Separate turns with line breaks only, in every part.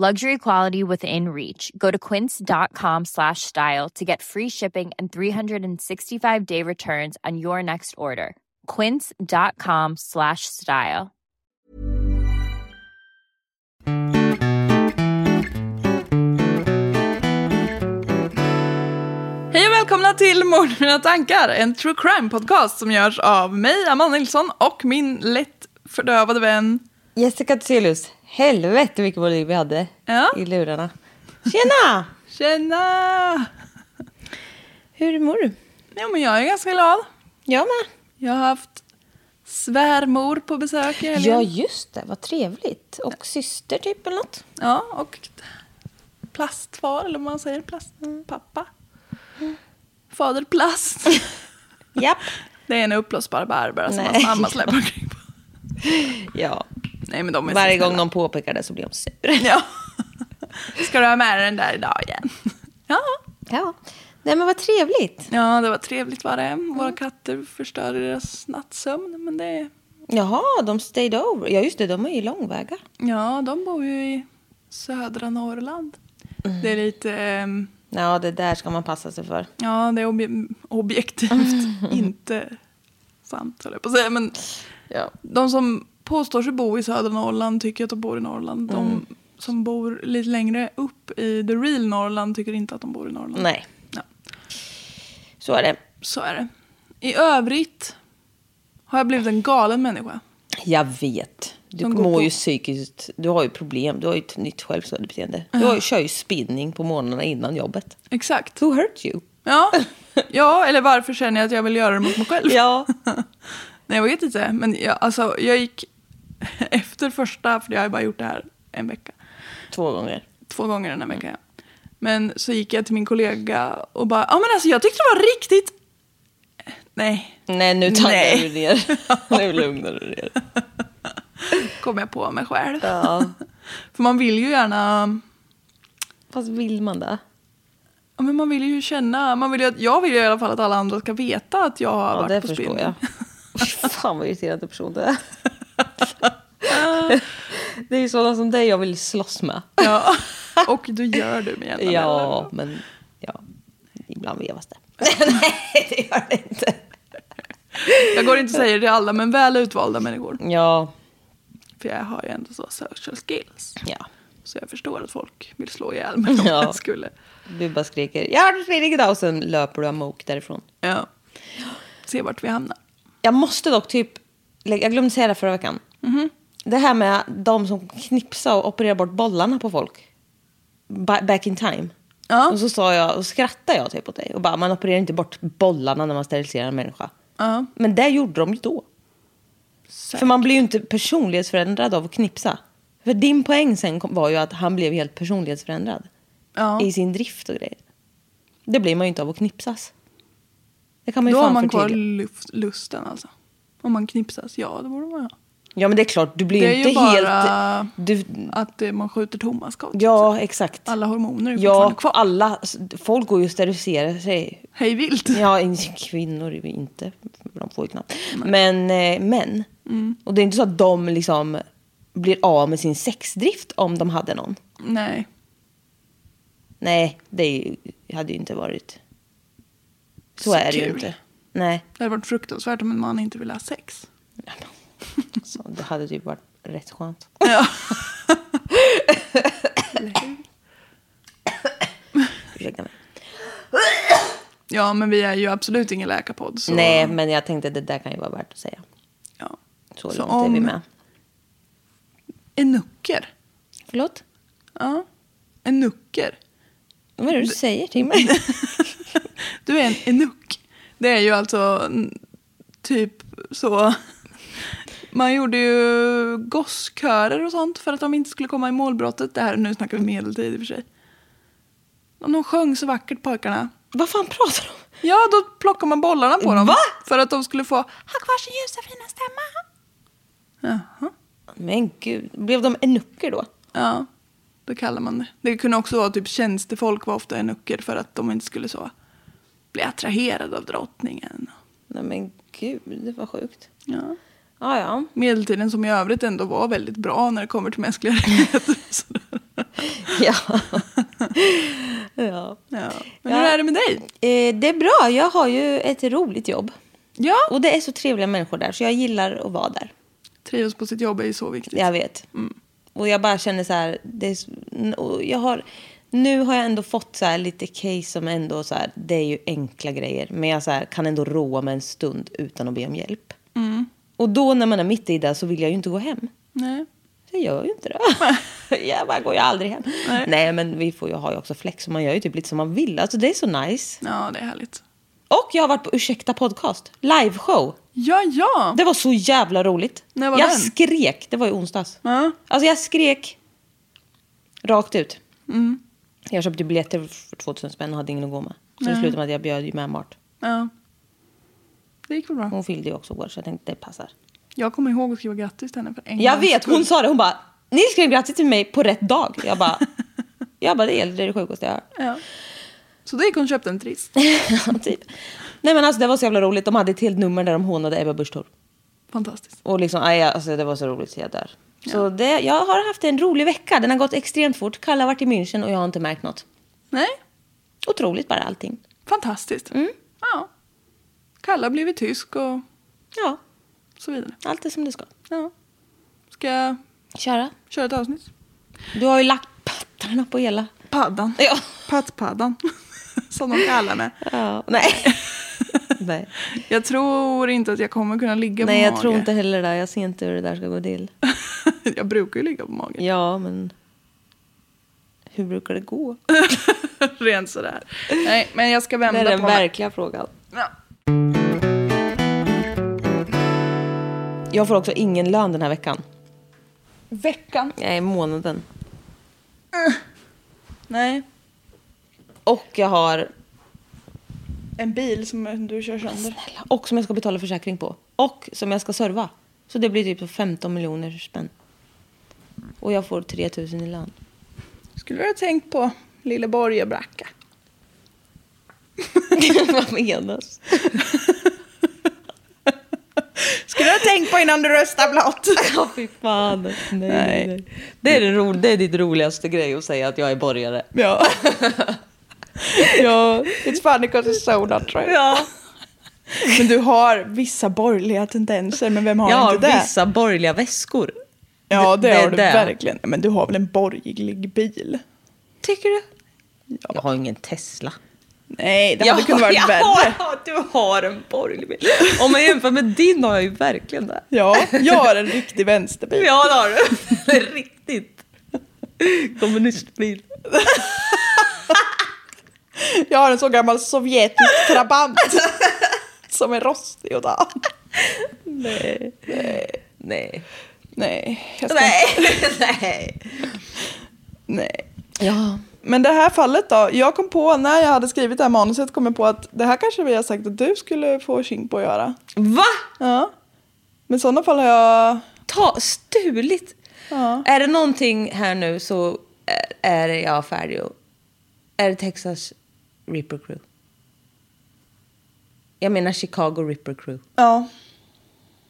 Luxury quality within reach. Go to quince.com slash style to get free shipping and 365 day returns on your next order. Quince.com slash style.
Hej och välkomna till Mord mina tankar, en true crime-podcast som görs av mig, Amanda Nilsson, och min lätt fördövade vän.
Jessica Thyselius, helvete vilken volym vi hade
Ja.
i lurarna. Tjena!
Tjena!
Hur mår du?
Jo, men jag är ganska glad.
Jag med.
Jag har haft svärmor på besök i helgen.
Ja, just det. Vad trevligt. Och syster typ eller något.
Ja, och plastfar, eller vad man säger, plastpappa. Fader plast.
Japp.
Det är en uppblåsbar Barbara som
Nej.
hans mamma släpper omkring på.
Ja.
Nej, men de är så
Varje
snälla.
gång någon påpekar det så blir de sur.
Ja. Ska du ha med dig den där idag igen? Ja.
Ja. Nej men vad trevligt.
Ja, det var trevligt var det. Våra katter förstörde deras nattsömn. Men det,
Jaha, de stayed over. Ja just det, de är ju långväga.
ja, de bor ju i södra Norrland. Det är lite, ehm,
Ja, det där ska man passa sig för.
ja, det är obje- objektivt inte sant, höll jag på att säga. Men
Ja.
de som påstår sig bo i södra Norrland tycker att de bor i Norrland. De som bor lite längre upp i the real Norrland tycker inte att de bor i Norrland.
Nej,
Ja,
så är det.
så är det. I övrigt har jag blivit en galen människa.
Jag vet. Du
De går
mår
på-
ju psykiskt. Du har ju problem. Du har ju ett nytt självskadebeteende. Du har ju, kör ju spinning på morgnarna innan jobbet.
Exakt.
Ah. Who hurt you?
Ja. ja, eller varför känner jag att jag vill göra det mot mig själv?
Ja.
Nej, jag vet inte. Men jag, alltså, jag gick efter första, för jag har ju bara gjort det här en vecka.
Två gånger.
Två gånger den här veckan. Men så gick jag till min kollega och bara, ja men alltså jag tyckte det var riktigt... Nej,
Nej, nu taggar
Nej.
du ner. nu lugnar du ner.
kom jag på mig själv.
Ja.
För man vill ju gärna...
Fast vill man det?
Ja, men man vill ju känna, man vill ju, att- jag vill ju i alla fall att alla andra ska veta att jag har
Ja,
varit
det
på
förstår
spelning.
jag. Fy Fan vad irriterande person det är. det är ju sådana som dig jag vill slåss med.
Ja. Och du gör du med jämna mellanrum.
Ja, men ja. Ibland vevas det. Nej, det gör det inte.
Jag går inte och säger det till alla, men väl utvalda människor.
Ja,
För jag har ju ändå så social skills.
ja.
Så jag förstår att folk vill slå ihjäl mig om
Ja.
jag skulle.
Du bara skriker jag har spinning idag och sen löper du amok därifrån.
Ja. Se vart vi hamnar.
Jag måste dock typ, jag glömde säga det förra veckan.
Mhm.
Det här med de som knipsar och opererar bort bollarna på folk. Ba- Back in time.
Ja.
Och så sa jag, och skrattade jag typ åt dig och bara, man opererar inte bort bollarna när man steriliserar en människa.
Ja.
Men det gjorde de ju då. För man blir ju inte personlighetsförändrad av att knipsa. För din poäng sen kom- var ju att han blev helt personlighetsförändrad.
Ja.
I sin drift och grejer. Det blir man ju inte av att knipsas. Det kan man ju
Då har
fan
man kvar
förtydliga.
luft, lusten alltså. Om man knipsas, ja det borde man ha.
Ja men det är klart, du blir
Det är
ju
ju
inte helt...
bara
Du,
att det, man skjuter tomma skott.
Mm. ja, exakt.
Alla hormoner är ju
Ja,
fortfarande kvar.
alla... Folk går ju och steriliserar sig.
Hej vilt.
Ja, in- kvinnor är ju inte... De får ju knappt. Men eh, män.
Mm.
Och det är inte så att de liksom blir av med sin sexdrift om de hade någon.
Nej.
Nej, det är ju, hade ju inte varit... Så,
Så
är det ju
kul.
inte. Nej.
Det hade varit fruktansvärt om en man inte ville ha sex.
Så det hade typ varit rätt skönt.
Ja.
Ursäkta mig.
ja, men vi är ju absolut ingen läkarpodd. Så,
Nej, men jag tänkte att det där kan ju vara värt att säga.
Ja.
Så,
Så
långt är vi
om-
med.
Enucker.
Förlåt?
Ja. Enucker.
Vad är det du säger till mig?
Du är en enuck. Det är ju alltså n- typ så. Man gjorde ju gosskörer och sånt för att de inte skulle komma i målbrottet. Det här, nu snackar vi medeltid i och för sig. Och de sjöng så vackert pojkarna.
Vad fan pratar du om?
Ja, då plockar man bollarna på dem.
Va?
För att de skulle få ha kvar sin ljusa fina stämma. Jaha.
Men gud, blev de enucker då?
Ja, då kallar man det. Det kunde också vara typ tjänstefolk var ofta enucker för att de inte skulle så bli attraherade av drottningen.
Nej men gud, det var sjukt.
Ja.
Ja, ja.
Medeltiden som i övrigt ändå var väldigt bra när det kommer till mänskliga rättigheter. Sådär.
ja. ja.
Ja. Men
Ja.
hur är det med dig?
Eh, det är bra, jag har ju ett roligt jobb.
Ja.
Och det är så trevliga människor där, så jag gillar att vara där.
Trivs på sitt jobb är ju så viktigt.
Jag vet. Mm. Och jag bara känner så här, det är, s- n- och jag har, nu har jag ändå fått så här lite case som ändå så här, det är ju enkla grejer. Men jag så här, kan ändå roa mig en stund utan att be om hjälp.
Mm.
Och då när man är mitt i det så vill jag ju inte gå hem.
Nej.
Så jag gör ju inte det. jag bara går ju aldrig hem. Nej. men vi får ju ha ju också flex så man gör ju typ lite som man vill. Alltså det är så nice.
Ja, det är härligt.
Och jag har varit på Ursäkta podcast, liveshow.
Ja, ja.
Det var så jävla roligt.
När var
jag
den?
skrek, det var i onsdags.
Ja.
Alltså jag skrek rakt ut.
Mm.
Jag köpte biljetter för 2000 spänn och hade ingen att gå med. Så det slutade med att jag bjöd ju med Mart.
ja. Det gick väl bra.
Hon fyllde ju också år så jag tänkte det passar.
Jag kommer ihåg att skriva grattis till henne för en
Jag
gångs
vet,
skull.
hon sa det. Hon bara, ni skrev grattis till mig på rätt dag. Jag bara, jag bara det är det sjukaste jag har hört.
Ja. Så då gick hon och köpte en triss.
Ja, typ. Nej men alltså det var så jävla roligt. De hade ett helt nummer där de hånade Ebba Busch Thor.
Fantastiskt.
Och liksom, aj, alltså det var så roligt så jag dör. Så det, jag har haft en rolig vecka. Den har gått extremt fort. Kalle har varit i München och jag har inte märkt något.
Nej,
Otroligt bara allting.
fantastiskt.
Mm.
Ja. Kalle har blivit tysk och
Ja,
så vidare.
allt är som det ska.
Ja. Ska jag
Köra.
köra ett avsnitt?
Du har ju lagt pattarna på hela.
Paddan.
Ja.
Pattpaddan. Som de kallar mig.
ja. Nej. Nej,
Jag tror inte att jag kommer kunna ligga
Nej
på
jag
mage.
tror inte heller det. Jag ser inte hur det där ska gå till.
jag brukar ju ligga på magen.
Ja, men... Hur brukar det gå?
Rent sådär. Nej, men jag ska
Det
vända
är den
på mig.
verkliga frågan.
Ja.
Jag får också ingen lön den här veckan.
Veckan.
Nej, månaden.
Nej.
Och jag har...
En bil som du kör sönder.
Och som jag ska betala försäkring på. Och som jag ska serva. Så det blir typ så 15 miljoner spänn. Och jag får 3 000 i lön.
Skulle du ha tänkt på Lille Borgebracka?
Vad menas?
Skulle du ha tänkt på innan du röstar blått?
Ja, fy fan. Nej, nej.
Nej.
nej. Det, är den ro- det är ditt roligaste grej att säga att jag är borgare.
Ja. ja. It's funny because it's so not true.
Ja.
Men du har vissa borgerliga tendenser, men vem har
Jag har
inte det?
vissa borgerliga väskor.
Ja, det,
Det- det är
har du
det.
verkligen. Men du har väl en borgerlig bil?
Tycker du? Jag har ingen Tesla.
Nej, det
jag
hade kunnat varit
jag
värre.
Har, du har en borgerlig bil. Om man jämför med din har jag ju verkligen det.
Ja, jag har en riktig vänsterbil.
Ja, det har du. Det är Riktigt. Kommunistbil.
Jag har en så gammal sovjetisk trabant som är rostig och dan.
Nej. Nej.
Nej, jag ska
Nej. Nej.
Nej.
Ja.
Men det här fallet då, jag kom på när jag hade skrivit det här manuset kom jag på att det här kanske vi har sagt att du skulle få kink på att göra.
Va?
Ja. Men i sådana fall har jag
ta, stulit.
Ja.
Är det någonting här nu så är, är jag färdig. och- Är det Texas Ripper Crew? Jag menar Chicago Ripper Crew.
Ja.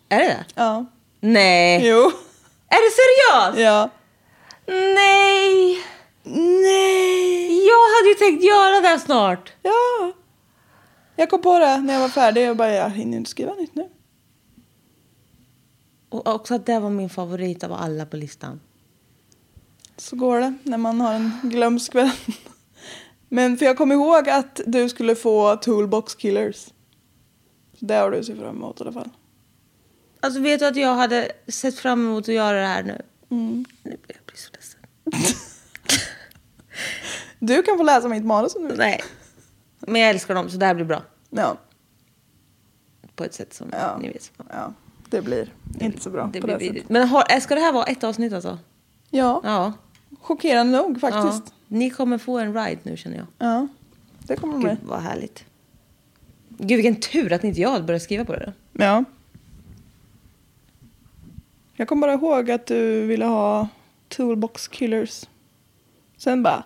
Är det det?
Ja.
Nej.
Jo.
Är det seriöst?
Ja.
Nej.
Nej.
Jag hade ju tänkt göra det här snart.
Ja. Jag kom på det när jag var färdig och bara jag hinner ju inte skriva nytt nu.
Och också att det var min favorit av alla på listan.
Så går det när man har en glömsk vän. Men för jag kommer ihåg att du skulle få Toolbox Killers. Så det har du sett fram emot i alla fall.
Alltså vet du att jag hade sett fram emot att göra det här nu?
Mm.
Nu blir jag blir så ledsen.
Du kan få läsa mitt manus om du vill.
Nej. Men jag älskar dem så det här blir bra.
Ja,
På ett sätt som
Ja.
ni vet.
ja, det blir inte så bra
Det
på
blir
det sättet.
vidrigt. Men har, eh, ska det här vara ett avsnitt alltså?
Ja,
Ja.
chockerande nog
ja.
faktiskt.
Ni kommer få en ride nu känner jag.
Ja, det kommer det bli.
Gud vad härligt. Gud vilken tur att inte jag började skriva på det. då.
Ja. Jag kommer bara ihåg att du ville ha Toolbox Killers. Sen bara,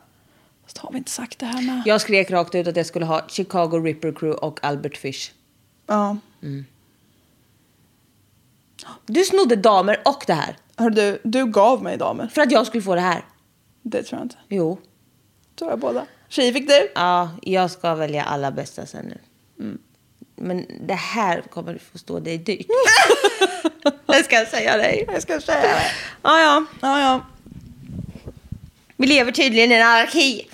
fast har vi inte sagt det här med?
Jag skrek rakt ut att jag skulle ha Chicago Ripper Crew och Albert Fish.
Ja.
Du snodde damer och det här.
Hör du, du gav mig damer.
För att jag skulle få det här.
Det tror jag inte.
Jo.
Då har jag båda. Tjej fick du.
Ja, jag ska välja alla bästa sen nu. Mm. Men det här kommer du få stå dig dyrt. det ska jag säga dig.
Jag ska säga det.
Ja, ja.
Ja, ja.
Vi lever tydligen i en anarki.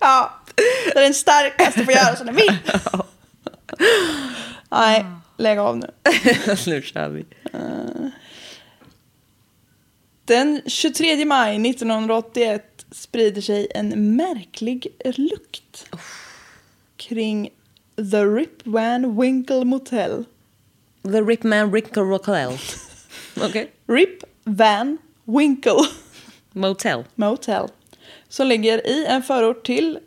Ja. Det är den starkaste får göra som den vill. Nej, lägg av nu.
nu kör vi.
Den 23 maj 1981 sprider sig en märklig lukt kring The Rip Van Winkle Motel.
The Ripman Rickle Rockell. Okej.
Rip Van Winkle
Motel.
Motel. Som ligger i en förort till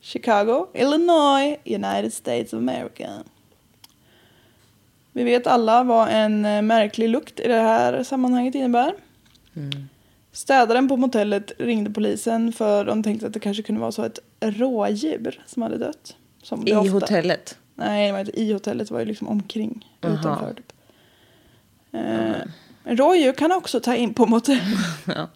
Chicago, Illinois, United States of America. Vi vet alla vad en eh, märklig lukt i det här sammanhanget innebär.
Mm.
Städaren på motellet ringde polisen för de tänkte att det kanske kunde vara så ett rådjur som hade dött. Som det
I
ofta-
hotellet.
Nej, det var inte i hotellet, det var ju liksom omkring. Utanför typ. Eh, Rådjur kan också ta in på motell.
Ja.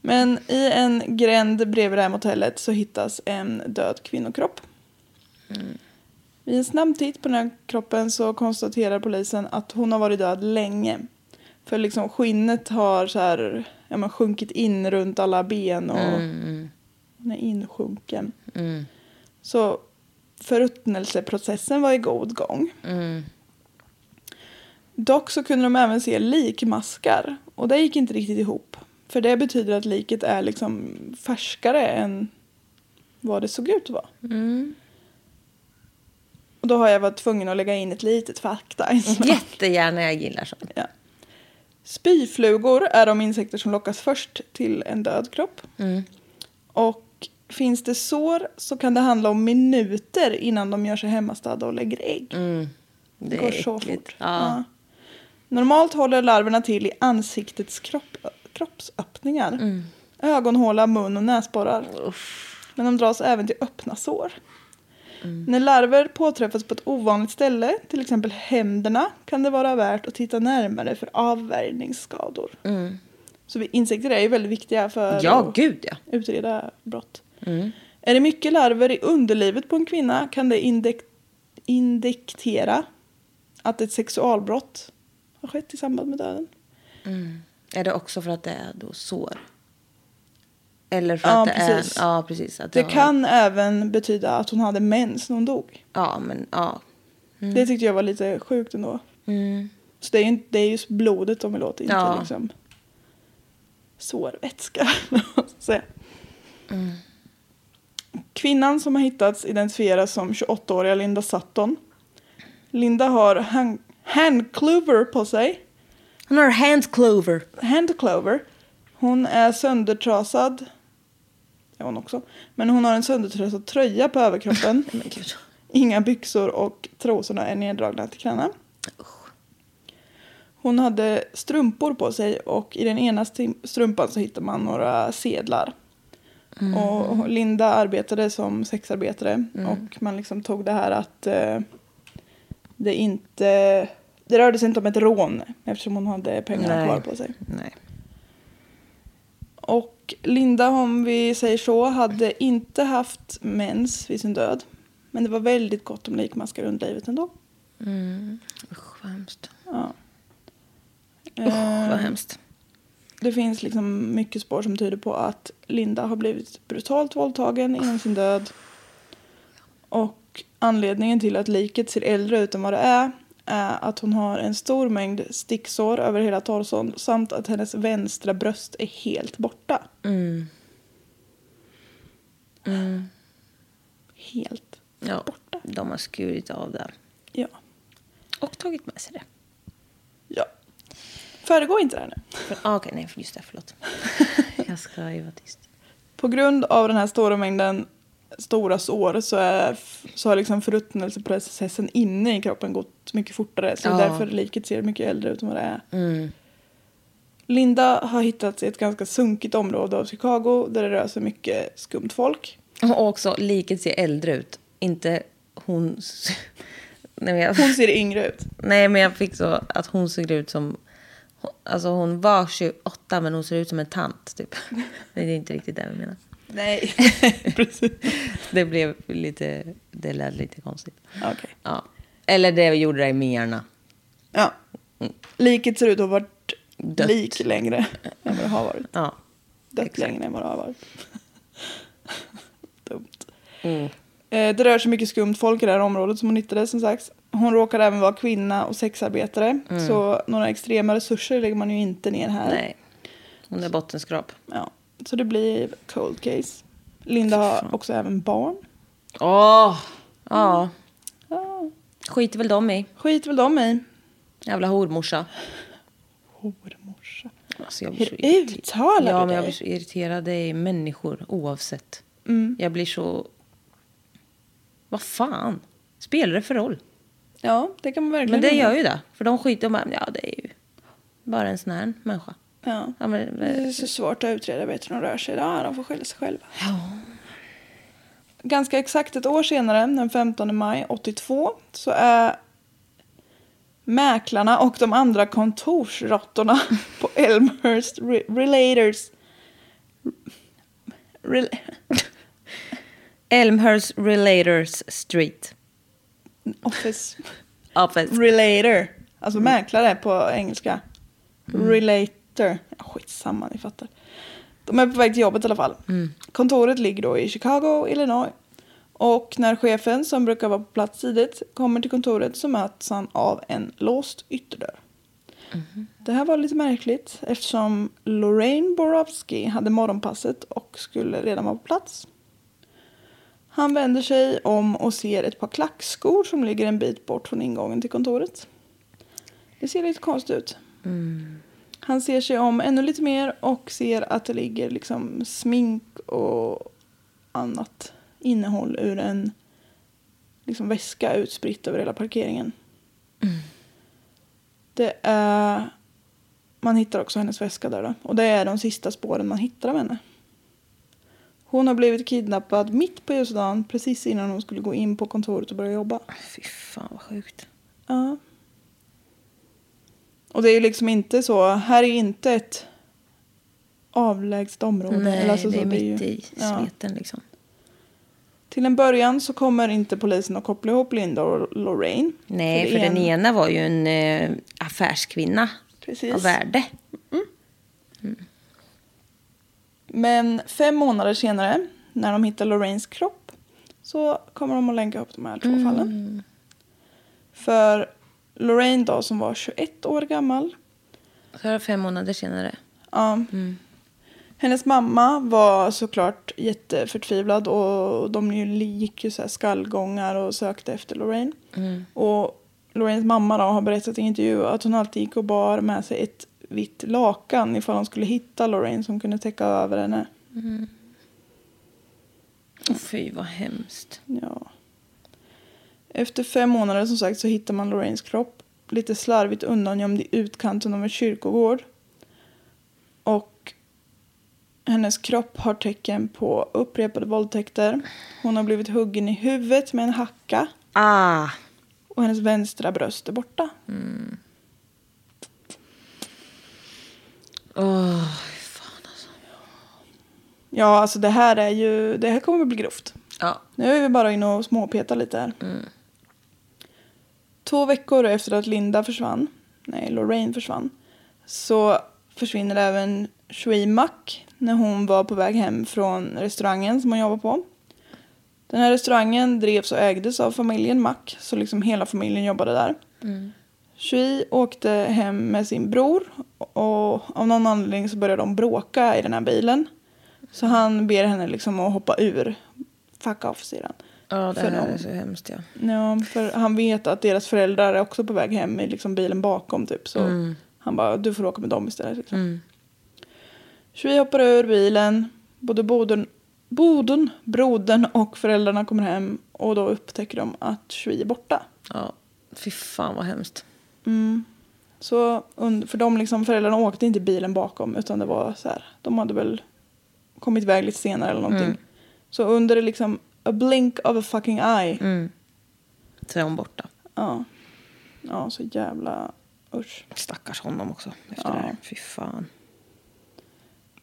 Men i en gränd bredvid det här motellet så hittas en död kvinnokropp. Vid en snabb titt på den här kroppen så konstaterar polisen att hon har varit död länge. För liksom skinnet har så här, ja, men sjunkit in runt alla ben och hon är insjunken. Så förruttnelseprocessen var i god gång. Dock så kunde de även se likmaskar och det gick inte riktigt ihop. För det betyder att liket är liksom färskare än vad det såg ut att vara. Och då har jag varit tvungen att lägga in ett litet faktainslag.
Jättegärna, jag gillar sånt.
Ja. Spyflugor är de insekter som lockas först till en död kropp.
Mm.
Och finns det sår så kan det handla om minuter innan de gör sig hemmastadda och lägger ägg. Det går så
Mm, äckligt.
fort.
Ja.
Ja. Normalt håller larverna till i ansiktets kropp, kroppsöppningar.
Mm.
Ögonhåla, mun och näsborrar. Men de dras även till öppna sår. När larver påträffas på ett ovanligt ställe, till exempel händerna, kan det vara värt att titta närmare för avvärjningsskador. Så vi- insekter är ju väldigt viktiga för
Mm. ja,
att
gud ja. Mm.
utreda brott. Är det mycket larver i underlivet på en kvinna kan det indek- indektera att ett sexualbrott har skett i samband med döden.
Är det också för att det är då sår? Eller för
Ja,
att det
precis.
är... Ja, precis. Att
Det
har-
kan även betyda att hon hade mens när hon dog.
Ja, men ja.
Det tyckte jag var lite sjukt ändå.
Mm.
Så det är ju, inte- det är ju blodet de vill åt, inte
Ja.
liksom sårvätska. vad man ska säga.
Mm.
Kvinnan som har hittats identifieras som 28-åriga Linda Sutton. Linda har hand, handclover på sig.
Hon har hand clover.
Handclover. Hon är söndertrasad. Det är hon också. Men hon har en söndertrasad tröja på överkroppen.
Men gud.
Inga byxor och trosorna är neddragna till knäna. Hon hade strumpor på sig och i den ena stim- strumpan så hittade man några sedlar. Och Linda arbetade som sexarbetare och man liksom tog det här att eh, det inte... Det rörde sig inte om ett rån eftersom hon hade pengarna kvar på sig.
Nej.
Och Linda, om vi säger så, hade inte haft mens vid sin död. Men det var väldigt gott om likmaskar under livet ändå.
Usch, vad hemskt.
Ja.
Usch, vad
Eh,
hemskt.
Det finns liksom mycket spår som tyder på att Linda har blivit brutalt våldtagen innan sin död. Och anledningen till att liket ser äldre ut än vad det är är att hon har en stor mängd sticksår över hela torson samt att hennes vänstra bröst är helt borta.
Mm.
Helt.
Ja, de har skurit av det.
Ja.
Och tagit med sig det.
Ja. Föregå inte det här nu.
För- ah, Okej, nej, just det. Förlåt. Jag ska ju vara tyst.
På grund av den här stora mängden stora sår så, är, så har liksom förruttnelseprocessen inne i kroppen gått mycket fortare. Så
Ja. Mm.
därför liket ser mycket äldre ut än vad det är. Linda har hittats i ett ganska sunkigt område av Chicago där det rör sig mycket skumt folk.
Och också, liket ser äldre ut. Inte hon... s- Nej men, jag,
Hon ser yngre ut.
nej, men jag fick så att hon såg ut som... Alltså hon var 28, men hon ser ut som en tant, typ. Men det är inte riktigt det vi menar.
Nej. Precis.
Det blev lite... Det lät lite konstigt.
Okej.
Ja. Eller det gjorde det i min hjärna.
Ja. Liket ser ut att ha varit
Dött.
lik längre än vad det har varit.
Ja.
dött
Exakt.
längre än vad det har varit. Dumt.
Mm.
Eh, Det rör sig mycket skumt folk i det här området som hon hittade som sagt. Hon råkar även vara kvinna och sexarbetare. Så några extrema resurser lägger man ju inte ner här.
Mm. Nej. Hon är bottenskrap.
Ja. Så det blir cold case. Linda har också även barn.
Åh! Ja.
Ja.
Skiter väl de i.
Skit väl de i.
Jävla hormorsa.
Hormorsa.
Alltså jag blir
Hur
så irriterad.
uttalar
Ja,
du
men jag
dig?
blir så irriterad. Det är människor oavsett.
Mm.
Jag blir så... Vad fan? Spelar det för roll?
Ja, det kan man verkligen
Men det
undra.
gör ju det. För de skiter bara, ja det är ju bara en sån här människa.
Ja.
Ja, men, eh,
Det är så svårt att utreda bättre än de rör sig. Ja, de får skylla sig själva.
ja.
Ganska exakt ett år senare, den 15 maj 82, så är mäklarna och de andra kontorsråttorna på Elmhurst Re- Relators... Rel-
Elmhurst Relators Street.
office Mm.
Office.
Relator. Alltså mäklare på engelska. Relator. Ja, Skitsamma, ni fattar. De är på väg till jobbet i alla fall. Kontoret ligger då i Chicago, Illinois. Och när chefen, som brukar vara på plats tidigt, kommer till kontoret så möts han av en låst ytterdörr. Det här var lite märkligt eftersom Lorraine Borowski hade morgonpasset och skulle redan vara på plats. Han vänder sig om och ser ett par klackskor som ligger en bit bort från ingången till kontoret. Det ser lite konstigt ut. Han ser sig om ännu lite mer och ser att det ligger liksom smink och annat innehåll ur en liksom väska utspritt över hela parkeringen. Det är... Man hittar också hennes väska där då. Och det är de sista spåren man hittar av henne. Hon har blivit kidnappad mitt på ljusa dagen precis innan hon skulle gå in på kontoret och börja jobba.
Fy fan vad sjukt.
Ja. Och det är ju liksom inte så, här är inte ett avlägset område.
Nej,
Eller alltså
det
så
är mitt
ju-
i
ja.
smeten liksom.
Till en början så kommer inte polisen att koppla ihop Linda och Lorraine.
Nej,
det
för
är
den
en-
ena var ju en eh, affärskvinna
Precis.
av värde.
Men fem månader senare, när de hittar Lorraines kropp, så kommer de att länka ihop de här
Mm.
två fallen. För Lorraine då, som var 21 år gammal,
Så var fem månader senare.
ja. hennes mamma var såklart jätteförtvivlad och de ju gick ju så här skallgångar och sökte efter Lorraine. Och Lorraines mamma då har berättat i en intervju att hon alltid gick och bar med sig ett vitt lakan ifall de skulle hitta Lorraine som kunde täcka över henne.
Åh, Fy vad hemskt.
Ja. Efter fem månader som sagt så hittar man Lorraines kropp lite slarvigt undangömd i utkanten av en kyrkogård. Och hennes kropp har tecken på upprepade våldtäkter. Hon har blivit huggen i huvudet med en hacka
Ah.
och hennes vänstra bröst är borta.
Åh.
Ja, alltså det här är ju, det här kommer att bli grovt.
Ja.
Nu är vi bara inne och småpetar lite här. Två veckor efter att Linda försvann, nej Lorraine försvann, så försvinner även Shui Mack när hon var på väg hem från restaurangen som hon jobbar på. Den här restaurangen drevs och ägdes av familjen Mack, så liksom hela familjen jobbade där. Shui åkte hem med sin bror och av någon anledning så började de bråka i den här bilen. Så han ber henne liksom att hoppa ur. Fuck off, säger han.
Ja, det
För
här
de-
är så hemskt ja.
Ja, för han vet att deras föräldrar är också på väg hem i liksom bilen bakom typ. Så han bara, du får åka med dem istället. Liksom. Shui hoppar ur bilen. Både bodern, bodern, brodern och föräldrarna kommer hem. Och då upptäcker de att Shui är borta.
ja. Fy fan vad hemskt.
Så und- för de liksom, föräldrarna åkte inte i bilen bakom utan det var så här, de hade väl kommit iväg lite senare eller någonting. Så under liksom a blink of a fucking eye.
Så är hon borta.
Ja. ja, så jävla usch.
Stackars honom också efter
Ja.
det här. Fy fan.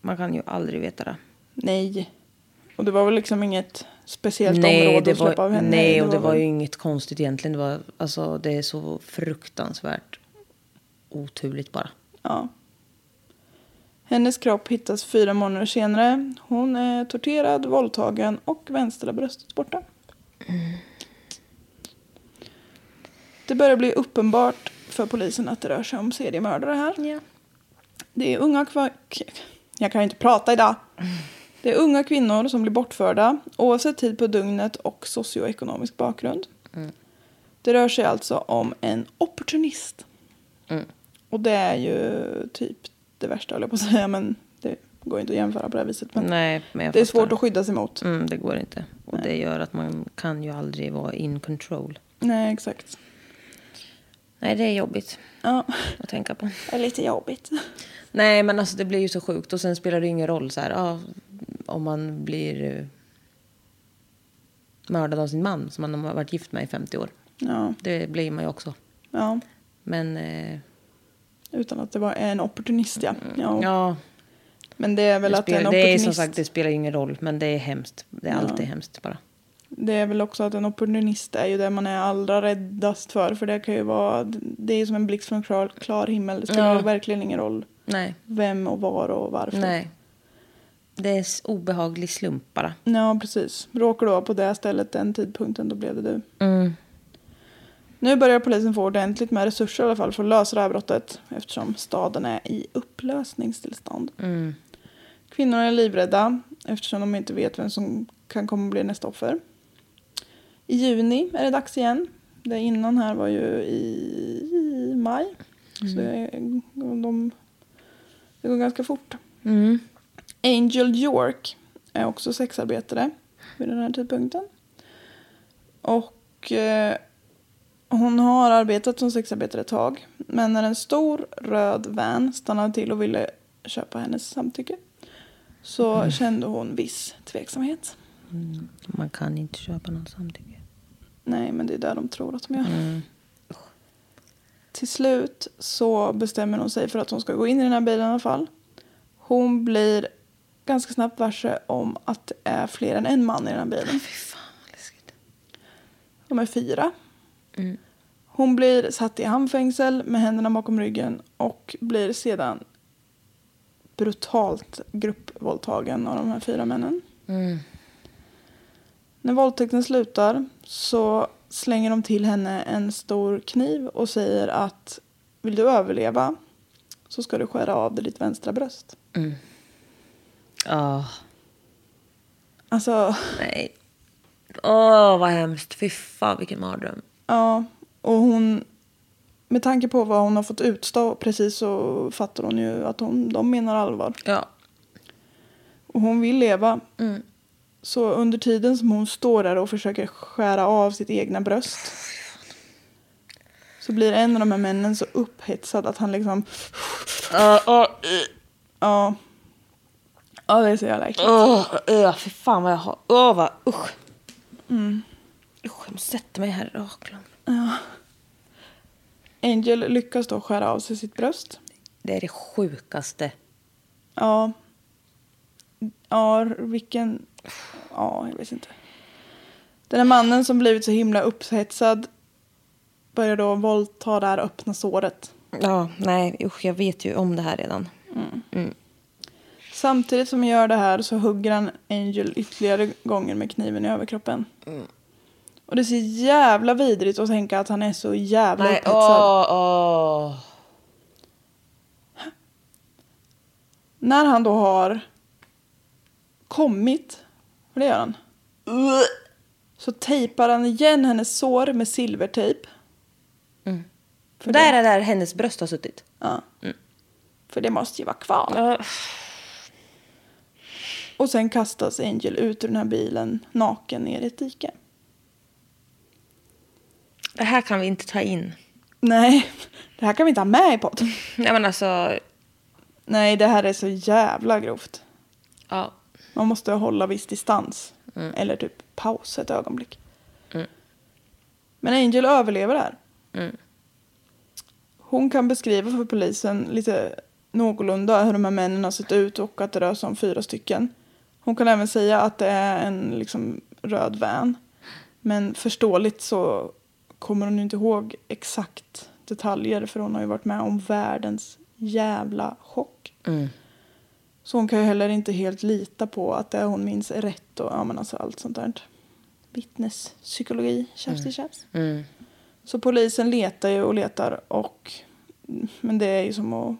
Man kan ju aldrig veta det.
Nej. Och det var väl liksom inget speciellt
Nej,
område
det
att släppa av
var,
henne i.
nej, och det var
väl-
ju inget konstigt egentligen. Det, var, alltså, det är så fruktansvärt oturligt bara.
Ja. Hennes kropp hittas fyra månader senare. Hon är torterad, våldtagen och vänstra bröstet borta.
Mm.
Det börjar bli uppenbart för polisen att det rör sig om seriemördare här. Det är unga kva- k- Jag kan ju inte prata idag. Det är unga kvinnor som blir bortförda oavsett tid på dygnet och socioekonomisk bakgrund.
Mm.
Det rör sig alltså om en opportunist.
Mm.
Och det är ju typ det värsta, höll jag på att säga. Men det går ju inte att jämföra på det här viset. Men
Nej, men jag
det är
fattar.
svårt att skydda sig mot.
Mm, det går inte. Och det gör att man kan ju aldrig vara in control.
Nej, exakt.
Nej, det är jobbigt
Ja,
att tänka på.
det är lite jobbigt.
Nej, men alltså det blir ju så sjukt. Och sen spelar det ju ingen roll så här, ja, om man blir eh, mördad av sin man som man har varit gift med i 50 år.
Ja,
Det blir man ju också.
ja.
Men eh,
Utan att det var en opportunist, ja. ja.
Mm. ja,
Men det är väl
det,
att en
spelar, det är
opportunist...
som sagt, det spelar ju ingen roll. Men det är hemskt. Det är alltid hemskt bara.
Det är väl också att en opportunist är ju det man är allra räddast för. För det kan ju vara... Det är ju som en blixt från klar, klar himmel. Det spelar
Ja.
verkligen ingen roll
Nej,
vem och var och varför.
nej. Det är s- obehaglig slump bara.
Ja, precis. Råkar du vara på det stället den tidpunkten, då blev det du.
Mm.
Nu börjar polisen få ordentligt med resurser i alla fall för att lösa det här brottet eftersom staden är i upplösningstillstånd.
Mm.
Kvinnorna är livrädda eftersom de inte vet vem som kan komma att bli nästa offer. I juni är det dags igen. Det innan här var ju i, i maj.
Mm.
Så det, är- de, det går ganska fort.
Mm.
Angel York är också sexarbetare vid den här tidpunkten. Och eh, hon har arbetat som sexarbetare ett tag. Men när en stor röd van stannade till och ville köpa hennes samtycke så kände hon viss tveksamhet.
Man kan inte köpa något samtycke.
Nej, men det är där de tror att de gör.
Mm.
Till slut så bestämmer hon sig för att hon ska gå in i den här bilen i alla fall. Hon blir ganska snabbt varse om att det är fler än en man i den här bilen.
Fy fan vad läskigt.
De är fyra.
Mm.
Hon blir satt i handfängsel med händerna bakom ryggen och blir sedan brutalt gruppvåldtagen av de här fyra männen.
Mm.
När våldtäkten slutar så slänger de till henne en stor kniv och säger att vill du överleva så ska du skära av dig ditt vänstra bröst.
Åh,
Alltså,
nej. Åh, vad hemskt. Fy fan vilken mardröm.
ja. Och hon, med tanke på vad hon har fått utstå precis så fattar hon ju att hon, de menar allvar.
Ja.
Och hon vill leva.
Mm.
Så under tiden som hon står där och försöker skära av sitt egna bröst Så blir en av de här männen så upphetsad att han liksom... Ja. Ja, det är så jävla äckligt.
Åh, öh, fy fan vad jag har. Åh, vad usch. Mm. Usch, jag måste sätta mig här i raklång.
Angel lyckas då skära av sig sitt bröst.
Det är det sjukaste.
Ja. Ja, vilken... Ja, jag vet inte. Den här mannen som blivit så himla upphetsad börjar då våldta det här öppna såret.
Ja, nej, usch, jag vet ju om det här redan.
Samtidigt som han gör det här så hugger han Angel ytterligare gånger med kniven i överkroppen.
Mm.
Och det ser jävla vidrigt att tänka att han är så jävla
Nej,
upphetsad.
åh, åh.
När han då har kommit, för det gör han, så tejpar han igen hennes sår med silvertejp. För
Där
det,
är där hennes bröst har suttit.
ja. För det måste ju vara kvar.
Ja.
Och sen kastas Angel ut ur den här bilen naken ner i ett dike.
Det här kan vi inte ta in.
Nej, det här kan vi inte ha med i podden.
Nej, men alltså,
Nej, det här är så jävla grovt.
ja.
Man måste hålla viss distans. Eller typ pausa ett ögonblick. Men Angel överlever det här. Hon kan beskriva för polisen lite någorlunda hur de här männen har sett ut och att det rör sig om fyra stycken. Hon kan även säga att det är en liksom, röd van. Men förståeligt så kommer hon ju inte ihåg exakt detaljer för hon har ju varit med om världens jävla chock. Så hon kan ju heller inte helt lita på att det hon minns är rätt och ja, men alltså allt sånt där. Vittnespsykologi, tjafs till tjafs. Så polisen letar ju och letar och men det är ju som att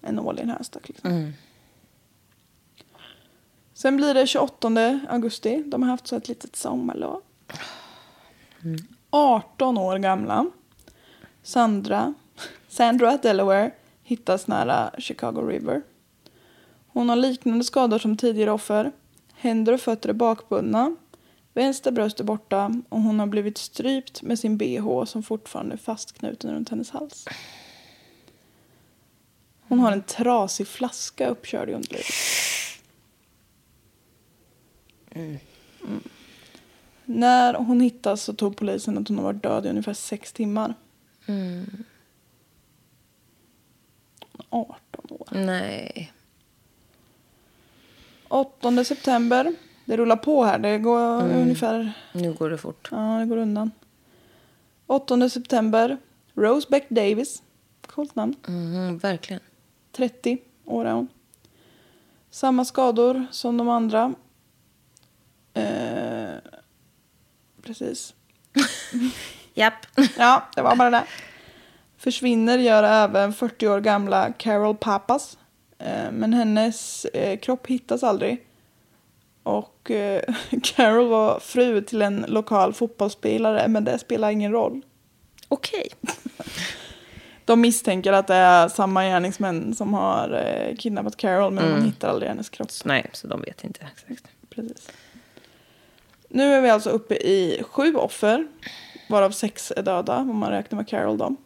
en nål i en höstack. Liksom. Sen blir det 28 augusti. De har haft så ett litet sommarlov. 18 år gamla. Sandra, Sandra Delaware hittas nära Chicago River. Hon har liknande skador som tidigare offer. Händer och fötter är bakbundna. Vänster bröst är borta och hon har blivit strypt med sin bh som fortfarande är fastknuten runt hennes hals. Hon har en trasig flaska uppkörd i underlivet. Mm. När hon hittas så tog polisen att hon har varit död i ungefär sex timmar. 18 år.
Nej.
8 september. Det rullar på här. Det går ungefär...
Nu går det fort.
Ja, det går undan. 8 september. Rose Beck Davis. Coolt namn.
Mm, verkligen.
30 år är hon. Samma skador som de andra. Eh, precis.
Japp.
Ja, det var bara det. Försvinner gör även 40 år gamla Carol Pappas. Eh, Men hennes eh, kropp hittas aldrig. Och eh, Carol var fru till en lokal fotbollsspelare, men det spelar ingen roll.
Okej.
De misstänker att det är samma gärningsmän som har eh, kidnappat Carol, men man hittar aldrig hennes kropp.
Nej, så de vet inte exakt.
Precis. Nu är vi alltså uppe i sju offer, varav sex är döda om man räknar med Carol då.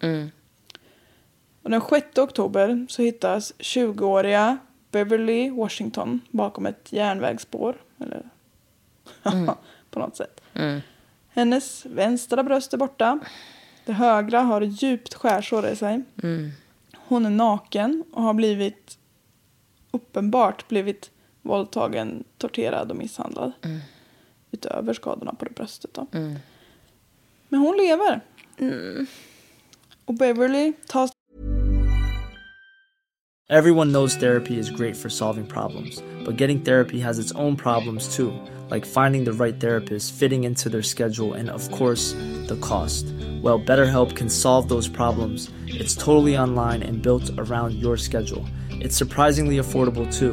Och den 6 oktober så hittas 20-åriga Beverly Washington bakom ett järnvägsspår. Eller på något sätt. Hennes vänstra bröst är borta. Det högra har djupt skärsår i sig. Hon är naken och har blivit uppenbart blivit våldtagen, torterad och misshandlad. Utöver skadorna på det bröstet. Då. Men hon lever. Och Beverly tas
Everyone knows therapy is great for solving problems, but getting therapy has its own problems too, like finding the right therapist, fitting into their schedule, and of course, the cost. Well, BetterHelp can solve those problems. It's totally online and built around your schedule. It's surprisingly affordable too.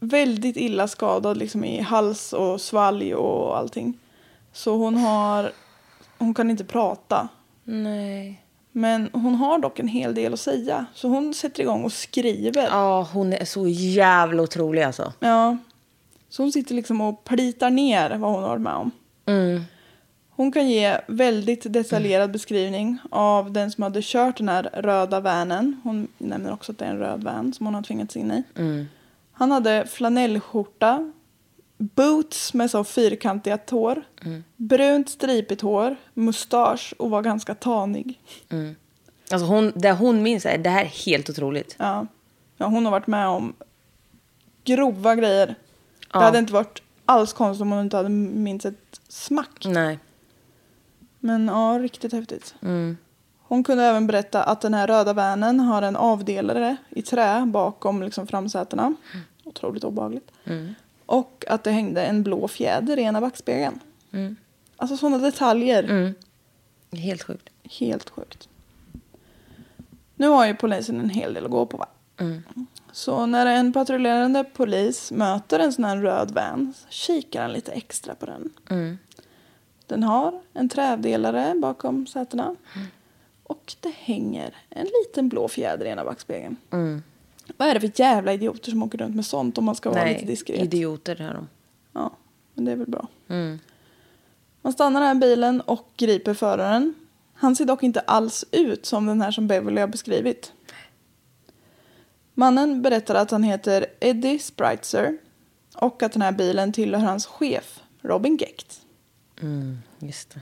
väldigt illa skadad liksom i hals och svalg och allting. Så hon har, hon kan inte prata.
Nej.
Men hon har dock en hel del att säga. Så hon sätter igång och skriver.
Ja, hon är så jävla otrolig alltså.
Ja. Så hon sitter liksom och plitar ner vad hon har varit med om. Hon kan ge väldigt detaljerad beskrivning av den som hade kört den här röda vanen. Hon nämner också att det är en röd van som hon har tvingats in i. Han hade flanellskjorta, boots med så fyrkantiga tår, brunt stripigt hår, mustasch och var ganska tanig.
Alltså hon, det hon minns är det här är helt otroligt.
Ja. ja, hon har varit med om grova grejer. Det hade inte varit alls konstigt om hon inte hade minst ett smack.
Nej.
Men ja, riktigt häftigt. Hon kunde även berätta att den här röda vanen har en avdelare i trä bakom liksom framsätena. Otroligt obehagligt. Och att det hängde en blå fjäder i ena backspegeln. Alltså sådana detaljer.
Helt sjukt.
Helt sjukt. Nu har ju polisen en hel del att gå på va?
Mm.
Så när en patrullerande polis möter en sån här röd van så kikar han lite extra på den.
Mm.
Den har en trävdelare bakom sätena.
Mm.
Och det hänger en liten blå fjäder i ena backspegeln.
Mm.
Vad är det för jävla idioter som åker runt med sånt om man ska vara lite
Nej,
diskret?
idioter är de.
Ja, men det är väl bra. Man stannar den här bilen och griper föraren. Han ser dock inte alls ut som den här som Beverly har beskrivit. Mannen berättar att han heter Eddie Spritzer och att den här bilen tillhör hans chef, Robin Gecht.
Just det.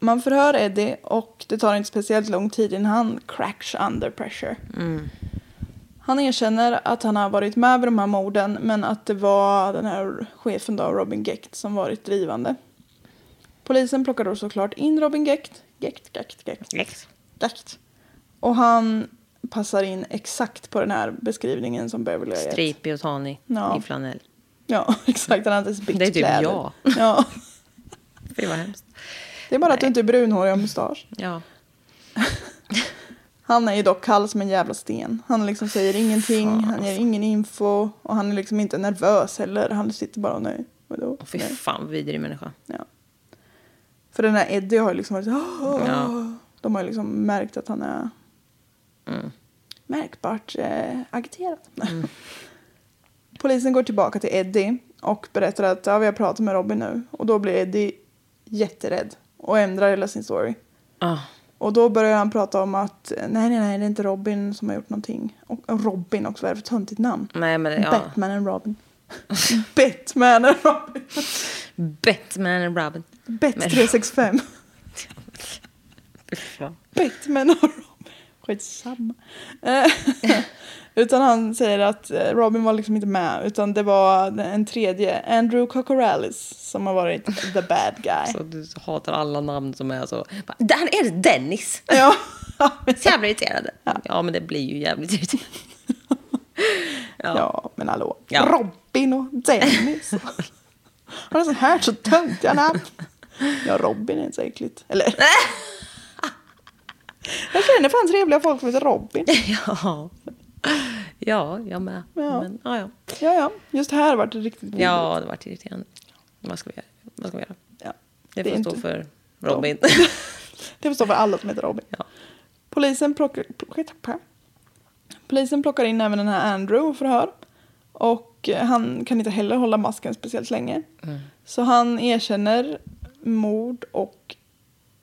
Man förhör Eddie och det tar inte speciellt lång tid innan han cracks under pressure.
Mm.
Han erkänner att han har varit med vid de här morden men att det var den här chefen då, Robin Gecht, som varit drivande. Polisen plockar då såklart in Robin Gecht. Gecht, Gecht, Gecht.
Yes.
Gecht. Och han passar in exakt på den här beskrivningen som Beverly har gett.
Stripig och tanig
Ja.
i flanell.
Ja, exakt. Han hade
Det är typ
kläder.
jag.
Ja.
Fy vad hemskt.
Det är bara att du inte är brunhårig och har mustasch.
Ja.
Han är ju dock kall som en jävla sten. Han liksom säger ingenting, han
alltså.
ger ingen info och han är liksom inte nervös heller. Han sitter bara och nej. Vadå?
Fy
Nej.
fan vad vidrig människa.
Ja. För den här Eddie har ju liksom varit så, "Åh."
Ja. Mm.
De har ju liksom märkt att han är märkbart eh, agiterad. Polisen går tillbaka till Eddie och berättar att ja, vi har pratat med Robin nu. Och då blir Eddie jätterädd och ändrar hela sin story.
Ah.
Och då börjar han prata om att nej, nej, nej, det är inte Robin som har gjort någonting. Och och Robin också, vad är det för töntigt namn?
Nej men ja. Batman,
Batman and Robin. Batman and Robin.
and Robin. Men-
Bet 365.
Fy fan.
Batman och Robin. Skitsamma. Eh, utan han säger att eh, Robin var liksom inte med utan det var en tredje, Andrew Cocorellis, som har varit the bad guy.
Så du hatar alla namn som är så. Bara, Där är det Dennis.
Ja.
Så jävla irriterande. Ja. men det blir ju jävligt irriterande.
Ja, men hallå.
Ja.
Robin och Dennis. Har du sån här så töntiga namn? Ja, Robin är inte så äckligt. Eller? Jag känner fan trevliga folk som heter Robin.
Ja. Ja, jag med.
Ja.
Men, ja, ja.
Ja, ja. Just här vart det riktigt vidrigt.
ja, det vart irriterande. Vad ska vi göra? Vad ska vi göra?
Ja.
Det
är
får
inte-
stå för Robin.
Det får stå för alla som heter Robin.
Ja.
Polisen, plockar, plockar- Polisen plockar in även den här Andrew och förhör. Och eh, han kan inte heller hålla masken speciellt länge.
Mm.
Så han erkänner mord och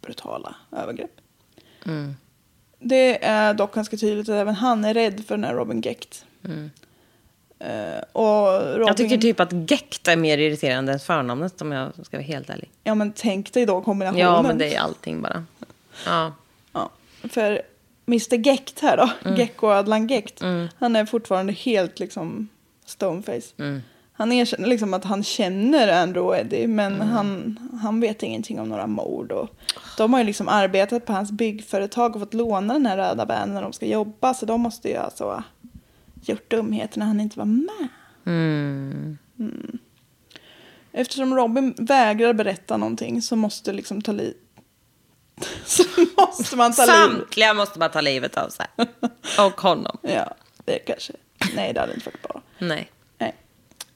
brutala övergrepp.
Mm.
Det är dock ganska tydligt att även han är rädd för den här Robin Gecht. Eh, och Robin,
Mm. Jag tycker typ att Gekta är mer irriterande än förnamnet om jag ska vara helt ärlig.
Ja men tänk dig då kombinationen.
Ja, men det är allting bara. Ja.
Ja, för Mr Gecht här då, Gecko Adlan Gecht, han är fortfarande helt liksom stoneface. Han erkänner liksom att han känner Andrew och Eddie men han, han vet ingenting om några mord. Och de har ju liksom arbetat på hans byggföretag och fått låna den här röda vanen när de ska jobba så de måste ju alltså gjort dumheter när han inte var med. Mm. Eftersom Robin vägrar berätta någonting så måste liksom ta li- så måste man ta liv.
Samtliga måste bara ta livet av sig. Och honom.
Ja, det kanske. Nej, det hade inte varit bra.
Nej.
Nej.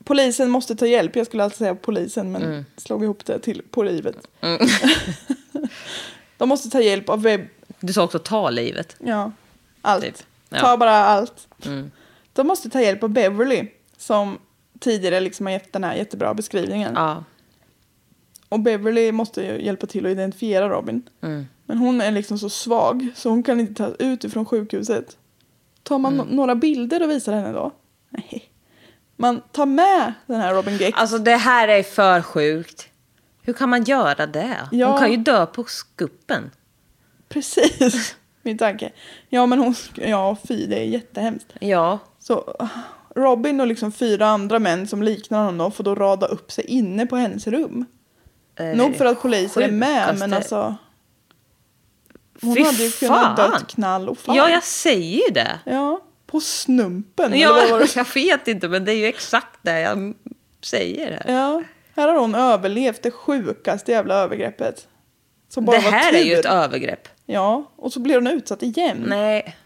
Polisen måste ta hjälp. Jag skulle alltid säga polisen, men
Mm.
slog ihop det till på livet. De måste ta hjälp av webb...
Du sa också ta livet.
Ja, allt.
Typ, ja. Mm.
Ta bara allt. De måste ta hjälp av Beverly, som tidigare liksom har gett den här jättebra beskrivningen.
Ja.
Och Beverly måste ju hjälpa till att identifiera Robin.
Mm.
Men hon är liksom så svag så hon kan inte tas ut ifrån sjukhuset. Tar man
Mm.
no- några bilder och visar henne då? Nej. Man tar med den här Robin Gex.
Alltså det här är för sjukt. Hur kan man göra det?
Ja.
Hon kan ju dö på skuppen.
Precis, min tanke. Ja men hon, sk- ja fy det är jättehemskt.
Ja.
Så ah, Robin och liksom fyra andra män som liknar honom då får då rada upp sig inne på hennes rum.
eh,
Nog för att polisen är med men
sjukaste-
alltså. Hon
Fy
hade ju kunnat
fan.
dött knall och fall.
Ja, jag säger ju det.
Ja, på snumpen. eller vad var
Ja,
det?
jag vet inte, men det är ju exakt det jag säger här.
ja. Här har hon överlevt det sjukaste jävla övergreppet. Som bara
det här
var
är
tur.
ju ett övergrepp.
Ja, och så blir hon utsatt igen.
Nej,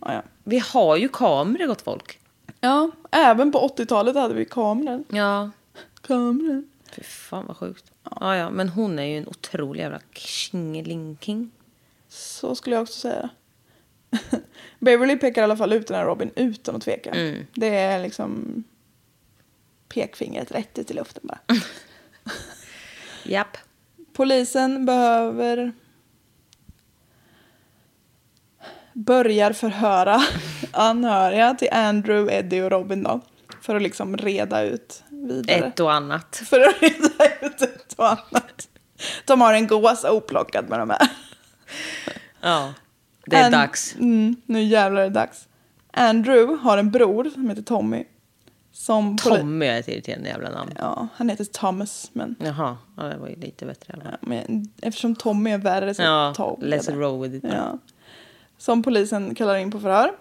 Ja, ja.
vi har ju kameror gott folk.
ja, även på 80-talet hade vi kameran.
Ja.
Kameran.
Fy fan vad sjukt. Ja, ja, men hon är ju en otrolig jävla kingelinking.
Så skulle jag också säga. Beverly pekar i alla fall ut den här Robin utan att tveka.
Mm.
Det är liksom pekfingret rätt ut i luften bara.
Japp.
Polisen behöver börjar förhöra anhöriga till Andrew, Eddie och Robin då. För att liksom reda ut vidare.
Ett och annat.
För att reda ut ett och annat. De har en gås oplockad med de här.
Ja. Det är
And-
dags.
Mm, nu jävlar är det dags. Andrew har en bror som heter Tommy. Som poli-
Tommy är ett irriterande jävla namn.
Ja, han heter Thomas men,
Jaha, ja, det var ju lite bättre. i alla fall.
ja, men eftersom Tommy är värre så
Ja,
Tommy.
let's roll with it.
Ja. Som polisen kallar in på förhör.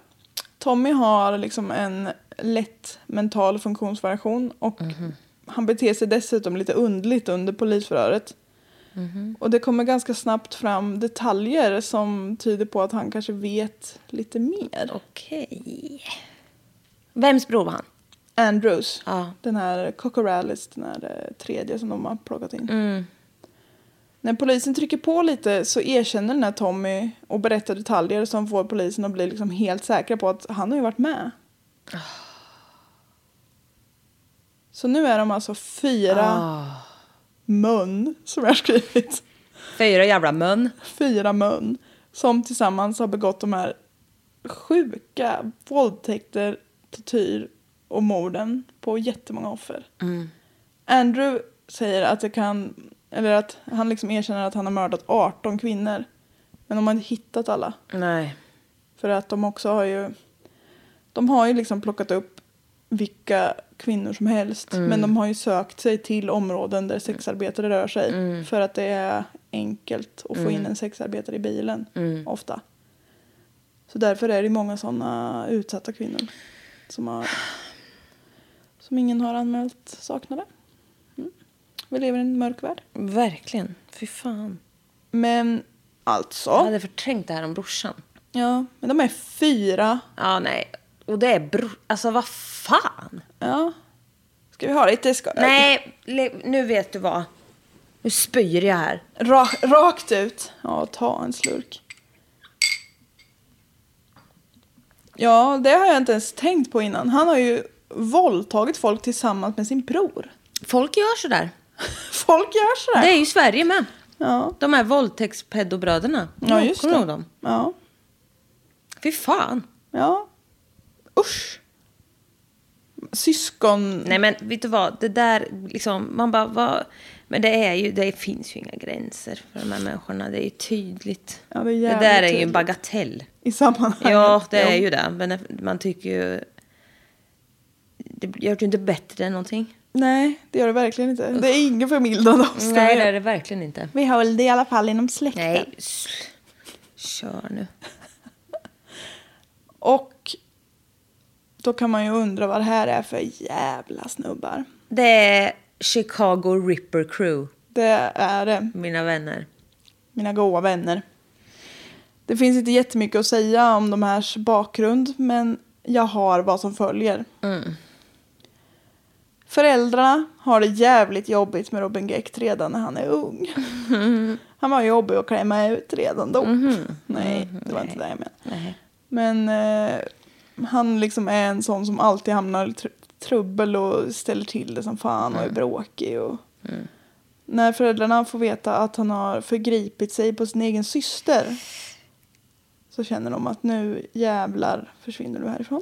Tommy har liksom en lätt mental funktionsvariation och
Mhm.
han beter sig dessutom lite undligt under polisförhöret.
Mhm.
Och det kommer ganska snabbt fram detaljer som tyder på att han kanske vet lite mer.
Okej. Vems bror var han?
Andrews,
Ja.
den här Cocorales, den här eh, tredje som de har plockat in. När polisen trycker på lite så erkänner den här Tommy och berättar detaljer som får polisen att bli liksom helt säkra på att han har ju varit med. Så nu är de alltså fyra mun, som jag har skrivit,
Fyra jävla mön.
fyra mun som tillsammans har begått de här sjuka våldtäkter, tortyr och morden på jättemånga offer. Andrew säger att det kan, eller att han liksom erkänner att han har mördat 18 kvinnor. Men de har inte hittat alla.
Nej.
För att de också har ju, de har ju liksom plockat upp vilka kvinnor som helst. Men de har ju sökt sig till områden där sexarbetare rör sig. För att det är enkelt att få in en sexarbetare i bilen ofta. Så därför är det många sådana utsatta kvinnor som, har, som ingen har anmält saknade. Mm. Vi lever i en mörk värld.
Verkligen. Fy fan.
Men alltså,
Jag hade förträngt det här om brorsan.
ja, men de är fyra.
Ja, nej. Och det är bror... Alltså, vad fan?
Ja. Ska vi ha lite skoj?
Nej, le- nu vet du vad. Nu spyr jag här.
Ra rakt ut. Ja, ta en slurk. Ja, det har jag inte ens tänkt på innan. Han har ju våldtagit folk tillsammans med sin bror.
Folk gör sådär.
Folk gör sådär.
Det är ju Sverige med.
Ja.
De här våldtäktspedobröderna.
ja, just
Kommer
det.
du ihåg dem?
Ja.
Fy fan.
ja. Usch. Syskon...
Nej, men vet du vad? Det där liksom... Man bara, vad... Men det, är ju, det finns ju inga gränser för de här människorna. Det är ju tydligt.
Ja, det är
det
jävligt
där är ju en
tydligt.
bagatell.
I sammanhanget.
Ja, det är
Jo.
ju det. Men man tycker ju... det gör det ju inte bättre än någonting.
Nej, det gör det verkligen inte. Det är ingen förmildrande omständighet.
Nej, det är det verkligen inte.
Vi höll det i alla fall inom släkten.
Nej, sl- kör nu.
Och då kan man ju undra vad det här är för jävla snubbar.
Det är Chicago Ripper Crew,
Det är det,
mina vänner.
mina goa vänner. Det finns inte jättemycket att säga om de härs bakgrund, men jag har vad som följer. Föräldrarna har det jävligt jobbigt med Robin Geck redan när han är ung. Han var jobbig att klämma ut redan då. Nej, det var inte det jag menade. Men eh, han liksom är en sån som alltid hamnar i tr- trubbel och ställer till det som fan och är bråkig. Och... När föräldrarna får veta att han har förgripit sig på sin egen syster så känner de att nu jävlar försvinner du härifrån.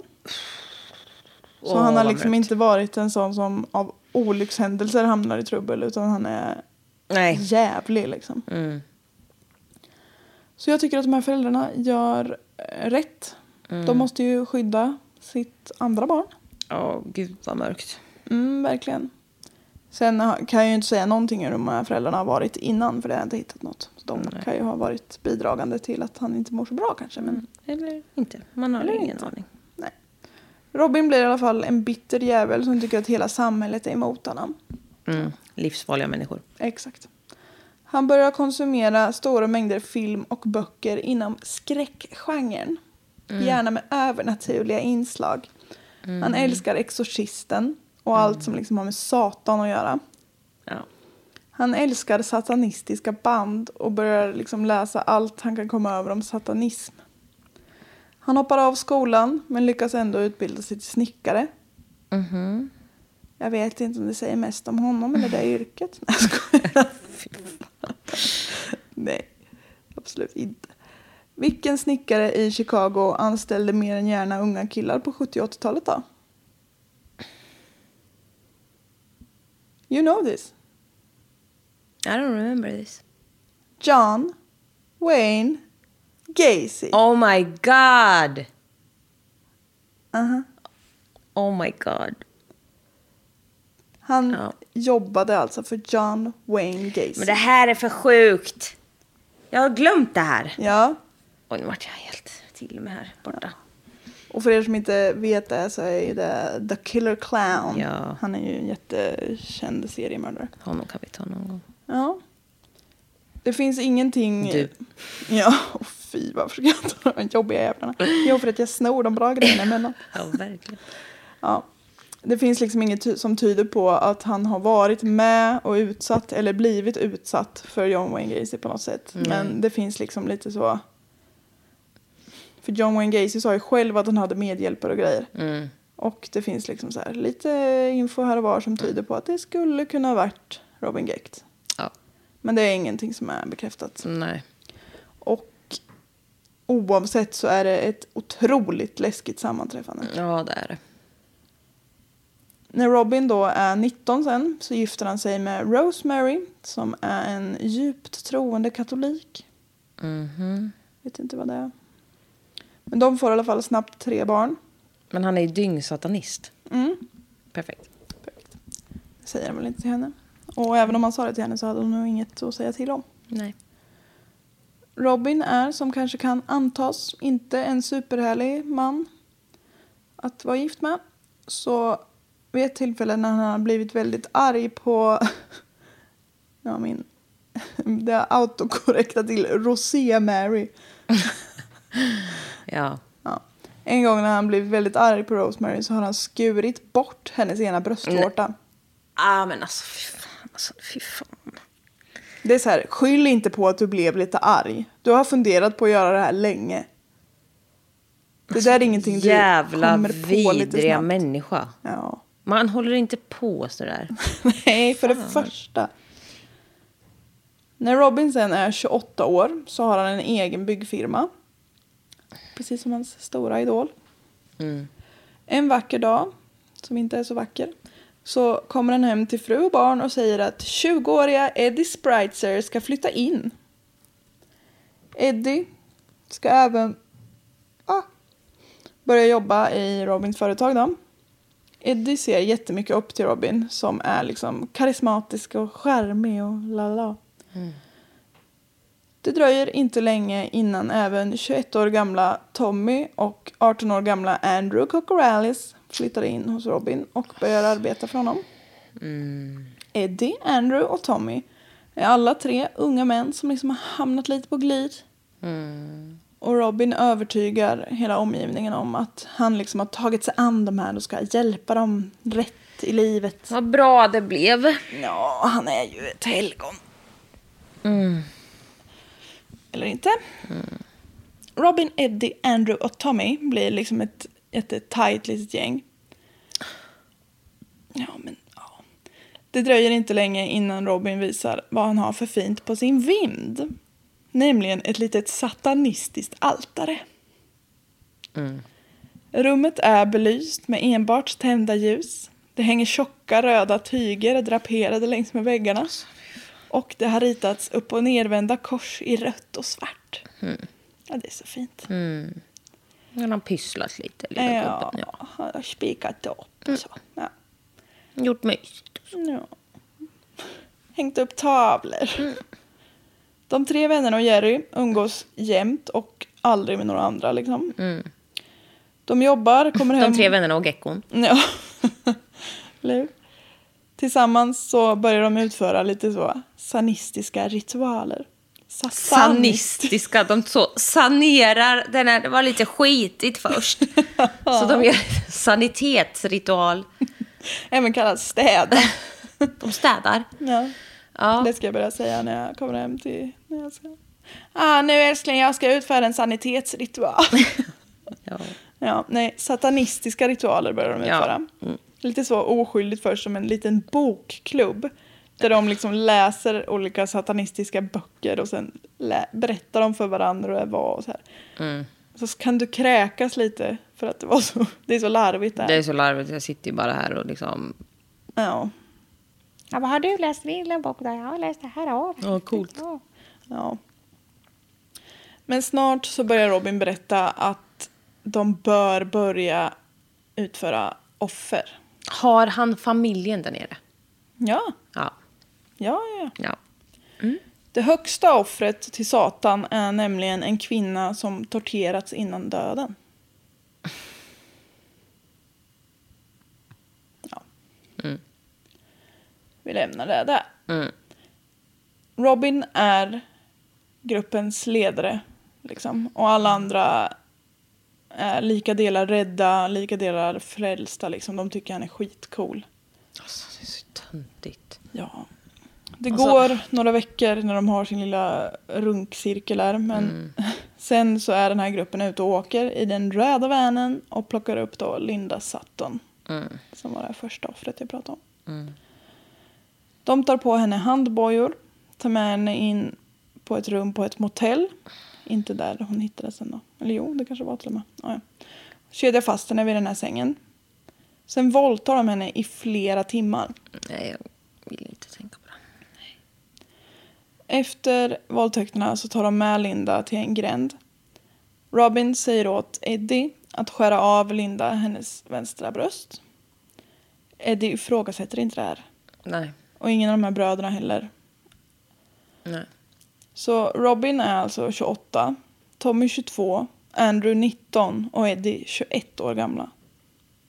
Så
Åh,
han har
vad
liksom
mörkt.
inte varit en sån som av olyckshändelser hamnar i trubbel utan han är
Nej. Mm.
jävlig liksom. Så jag tycker att de här föräldrarna gör eh, rätt.
Mm.
De måste ju skydda sitt andra barn.
Ja, gud vad mörkt.
Mm, verkligen. Sen ha- kan jag ju inte säga någonting hur de här föräldrarna har varit innan för det har jag inte hittat något. Så de kan ju ha varit bidragande till att han inte mår så bra kanske. Men
Eller inte. Man har ingen aning.
nej. Robin blir i alla fall en bitter jävel som tycker att hela samhället är emot honom.
Mm. Livsfarliga människor.
Exakt. Han börjar konsumera stora mängder film och böcker inom skräckgenren. Gärna med övernaturliga inslag. Han älskar Exorcisten och allt som liksom har med Satan att göra.
Ja.
Han älskar satanistiska band och börjar liksom läsa allt han kan komma över om satanism. Han hoppar av skolan men lyckas ändå utbilda sig till snickare. Jag vet inte om det säger mest om honom eller det yrket. Nej, jag skojar. Nej, absolut inte. Vilken snickare i Chicago anställde mer än gärna unga killar på 70 och 80-talet då? You know this.
I don't remember this.
John Wayne Gacy.
Oh my god! Uh-huh.
Aha.
Oh my god.
Han
Ja.
jobbade alltså för John Wayne Gacy.
Men det här är för sjukt. Jag har glömt det här.
Ja,
Oj, nu vart jag helt till med här borta.
och för er som inte vet det så är ju det The Killer Clown.
Ja.
Han är ju en jättekänd seriemördare.
Honom kan vi ta någon gång.
Ja. Det finns ingenting...
Du.
Ja, oh, fy varför ska jag ta de här jobbiga jävlarna? Jo, för att jag snor de bra grejerna emellan.
Ja, verkligen.
Ja. Det finns liksom inget ty- som tyder på att han har varit med och utsatt eller blivit utsatt för John Wayne Gacy på något sätt.
Mm.
Men det finns liksom lite så. För John Wayne Gacy sa ju själv att han hade medhjälpare och grejer.
Mm.
Och det finns liksom så här lite info här och var som tyder på att det skulle kunna ha varit Robin Gecht.
Mm. Ja.
Men det är ingenting som är bekräftat.
Nej.
Och oavsett så är det ett otroligt läskigt sammanträffande.
Ja, det är det.
När Robin då är 19 sen så gifter han sig med Rosemary som är en djupt troende katolik. Vet inte vad det är. Men de får i alla fall snabbt tre barn.
Men han är ju dyngsatanist. Perfekt.
Det säger han väl inte till henne. Och även om han sa det till henne så hade hon nog inget att säga till om.
Nej.
Robin är, som kanske kan antas, inte en superhärlig man att vara gift med. Så vid ett tillfälle när han har blivit väldigt arg på ja, min, det autokorrekta till Rosé Mary.
Ja.
Ja. En gång när han blivit väldigt arg på Rosemary så har han skurit bort hennes ena bröstvårta.
Ah, men alltså fy fan. Alltså, fy fan.
Det är så här, skyll inte på att du blev lite arg. Du har funderat på att göra det här länge. Det där är ingenting du
Alltså, Jävla
kommer på lite
vidriga
snabbt.
människa.
Ja.
Man håller inte på sådär.
Nej, för det första. När Robin sen är 28 år så har han en egen byggfirma. Precis som hans stora idol. En vacker dag, som inte är så vacker, så kommer han hem till fru och barn och säger att 20-åriga Eddie Spritzer ska flytta in. Eddie ska även ah, börja jobba i Robins företag då. Eddie ser jättemycket upp till Robin som är liksom karismatisk och charmig och lala. Det dröjer inte länge innan även 21 år gamla Tommy och 18 år gamla Andrew Cocorales flyttar in hos Robin och börjar arbeta för honom. Eddie, Andrew och Tommy är alla tre unga män som liksom har hamnat lite på glid. Och Robin övertygar hela omgivningen om att han liksom har tagit sig an de här och ska hjälpa dem rätt i livet.
Vad bra det blev.
Ja, han är ju ett helgon. Eller inte. Robin, Eddie, Andrew och Tommy blir liksom ett jättetajt litet gäng. Ja, men ja. Det dröjer inte länge innan Robin visar vad han har för fint på sin vind. Nämligen ett litet satanistiskt altare. Rummet är belyst med enbart tända ljus. Det hänger tjocka röda tyger draperade längs med väggarna. Och det har ritats upp och nervända kors i rött och svart.
Mm.
Ja, det är så fint.
Han har pysslat lite, lilla
Ja,
gubben. Ja. Mm.
han har spikat det upp och så. Ja.
Gjort mysigt.
Ja. Hängt upp tavlor.
Mm.
De tre vännerna och Jerry umgås jämt och aldrig med några andra. Liksom. De jobbar, kommer hem...
Mm. De tre vännerna och geckon.
Ja. Eller hur? Tillsammans så börjar de utföra lite så sanistiska ritualer. Sa-
Sanistiska. De så sanerar den här. Det var lite skitigt först. Så de gör en sanitetsritual.
Även kallat städa.
De städar.
Ja.
Ja.
Det ska jag börja säga när jag kommer hem till... När jag ska... ah, nu älskling, jag ska utföra en sanitetsritual.
ja.
Ja, nej, satanistiska ritualer börjar de
Ja. Mm.
utföra. Lite så oskyldigt först som en liten bokklubb. Där de liksom läser olika satanistiska böcker och sen lä- berättar de för varandra hur det var och så här.
Mm.
Så kan du kräkas lite för att det var så, det är så larvigt där.
Det är så larvigt. Jag sitter ju bara här och liksom...
Ja.
Ja, vad har du läst? Vilken bok där? Jag har läst det här. Ja,
Ja, coolt.
ja. Men snart så börjar Robin berätta att de bör börja utföra offer.
Har han familjen där nere?
Ja,
Ja.
ja, ja.
ja.
Det högsta offret till Satan är nämligen en kvinna som torterats innan döden. Ja. Vi lämnar det där. Robin är gruppens ledare. Liksom. Och alla andra är lika delar rädda, lika delar frälsta. Liksom. De tycker han är skitcool.
Alltså, det är så töntigt.
Ja. Det går några veckor när de har sin lilla runkcirkel där. Men sen så är den här gruppen ute och åker i den röda vanen och plockar upp då Linda Sutton. Som var det här första offret jag pratade om. De tar på henne handbojor. Tar med henne in på ett rum på ett motell. Inte där hon hittades sen då. Eller jo, det kanske var till och med. Ja, ja. Kedjar fast henne vid den här sängen. Sen våldtar de henne i flera timmar.
Nej, jag vill inte tänka på det.
Efter våldtäkterna så tar de med Linda till en gränd. Robin säger åt Eddie att skära av Linda hennes vänstra bröst. Eddie ifrågasätter inte det här.
Nej.
Och ingen av de här bröderna heller.
Nej.
Så Robin är alltså 28, Tommy 22, Andrew 19 och Eddie 21 år gamla.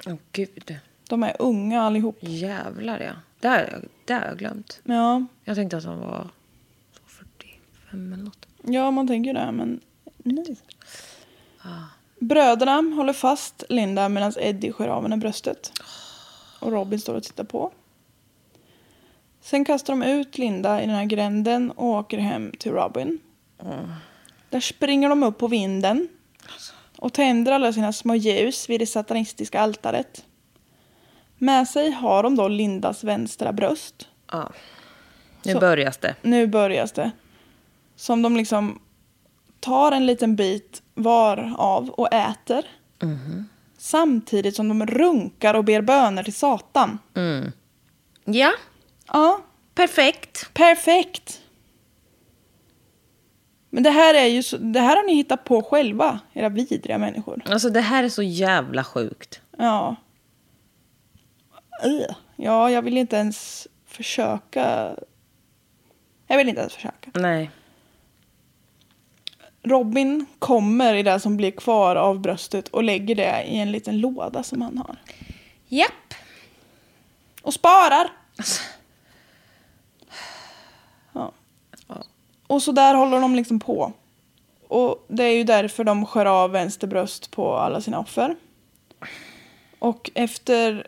Åh, gud.
De är unga allihop.
Jävlar, ja. Det här, har jag- det här har jag glömt.
Ja,
Jag tänkte att han var 45 eller något.
Ja, man tänker ju det, men nej. Bröderna håller fast Linda medan Eddie skär av henne bröstet. Och Robin står och tittar på. Sen kastar de ut Linda i den här gränden och åker hem till Robin. Där springer de upp på vinden och tänder alla sina små ljus vid det satanistiska altaret. Med sig har de då Lindas vänstra bröst.
Ja. Nu
Så-
börjar det.
Nu börjas det. Som de liksom tar en liten bit var av och äter. Samtidigt som de runkar och ber böner till Satan.
Ja,
Ja,
perfekt.
perfekt. Men det här är ju så, det här har ni hittat på själva, era vidriga människor.
Alltså det här är så jävla sjukt.
Ja. Ugh. Ja, jag vill inte ens försöka. Jag vill inte ens försöka.
Nej.
Robin kommer i det som blir kvar av bröstet och lägger det i en liten låda som han har.
Japp.
Och sparar. Ja. Och så där håller de liksom på. Och det är ju därför de skär av vänster bröst på alla sina offer. Och efter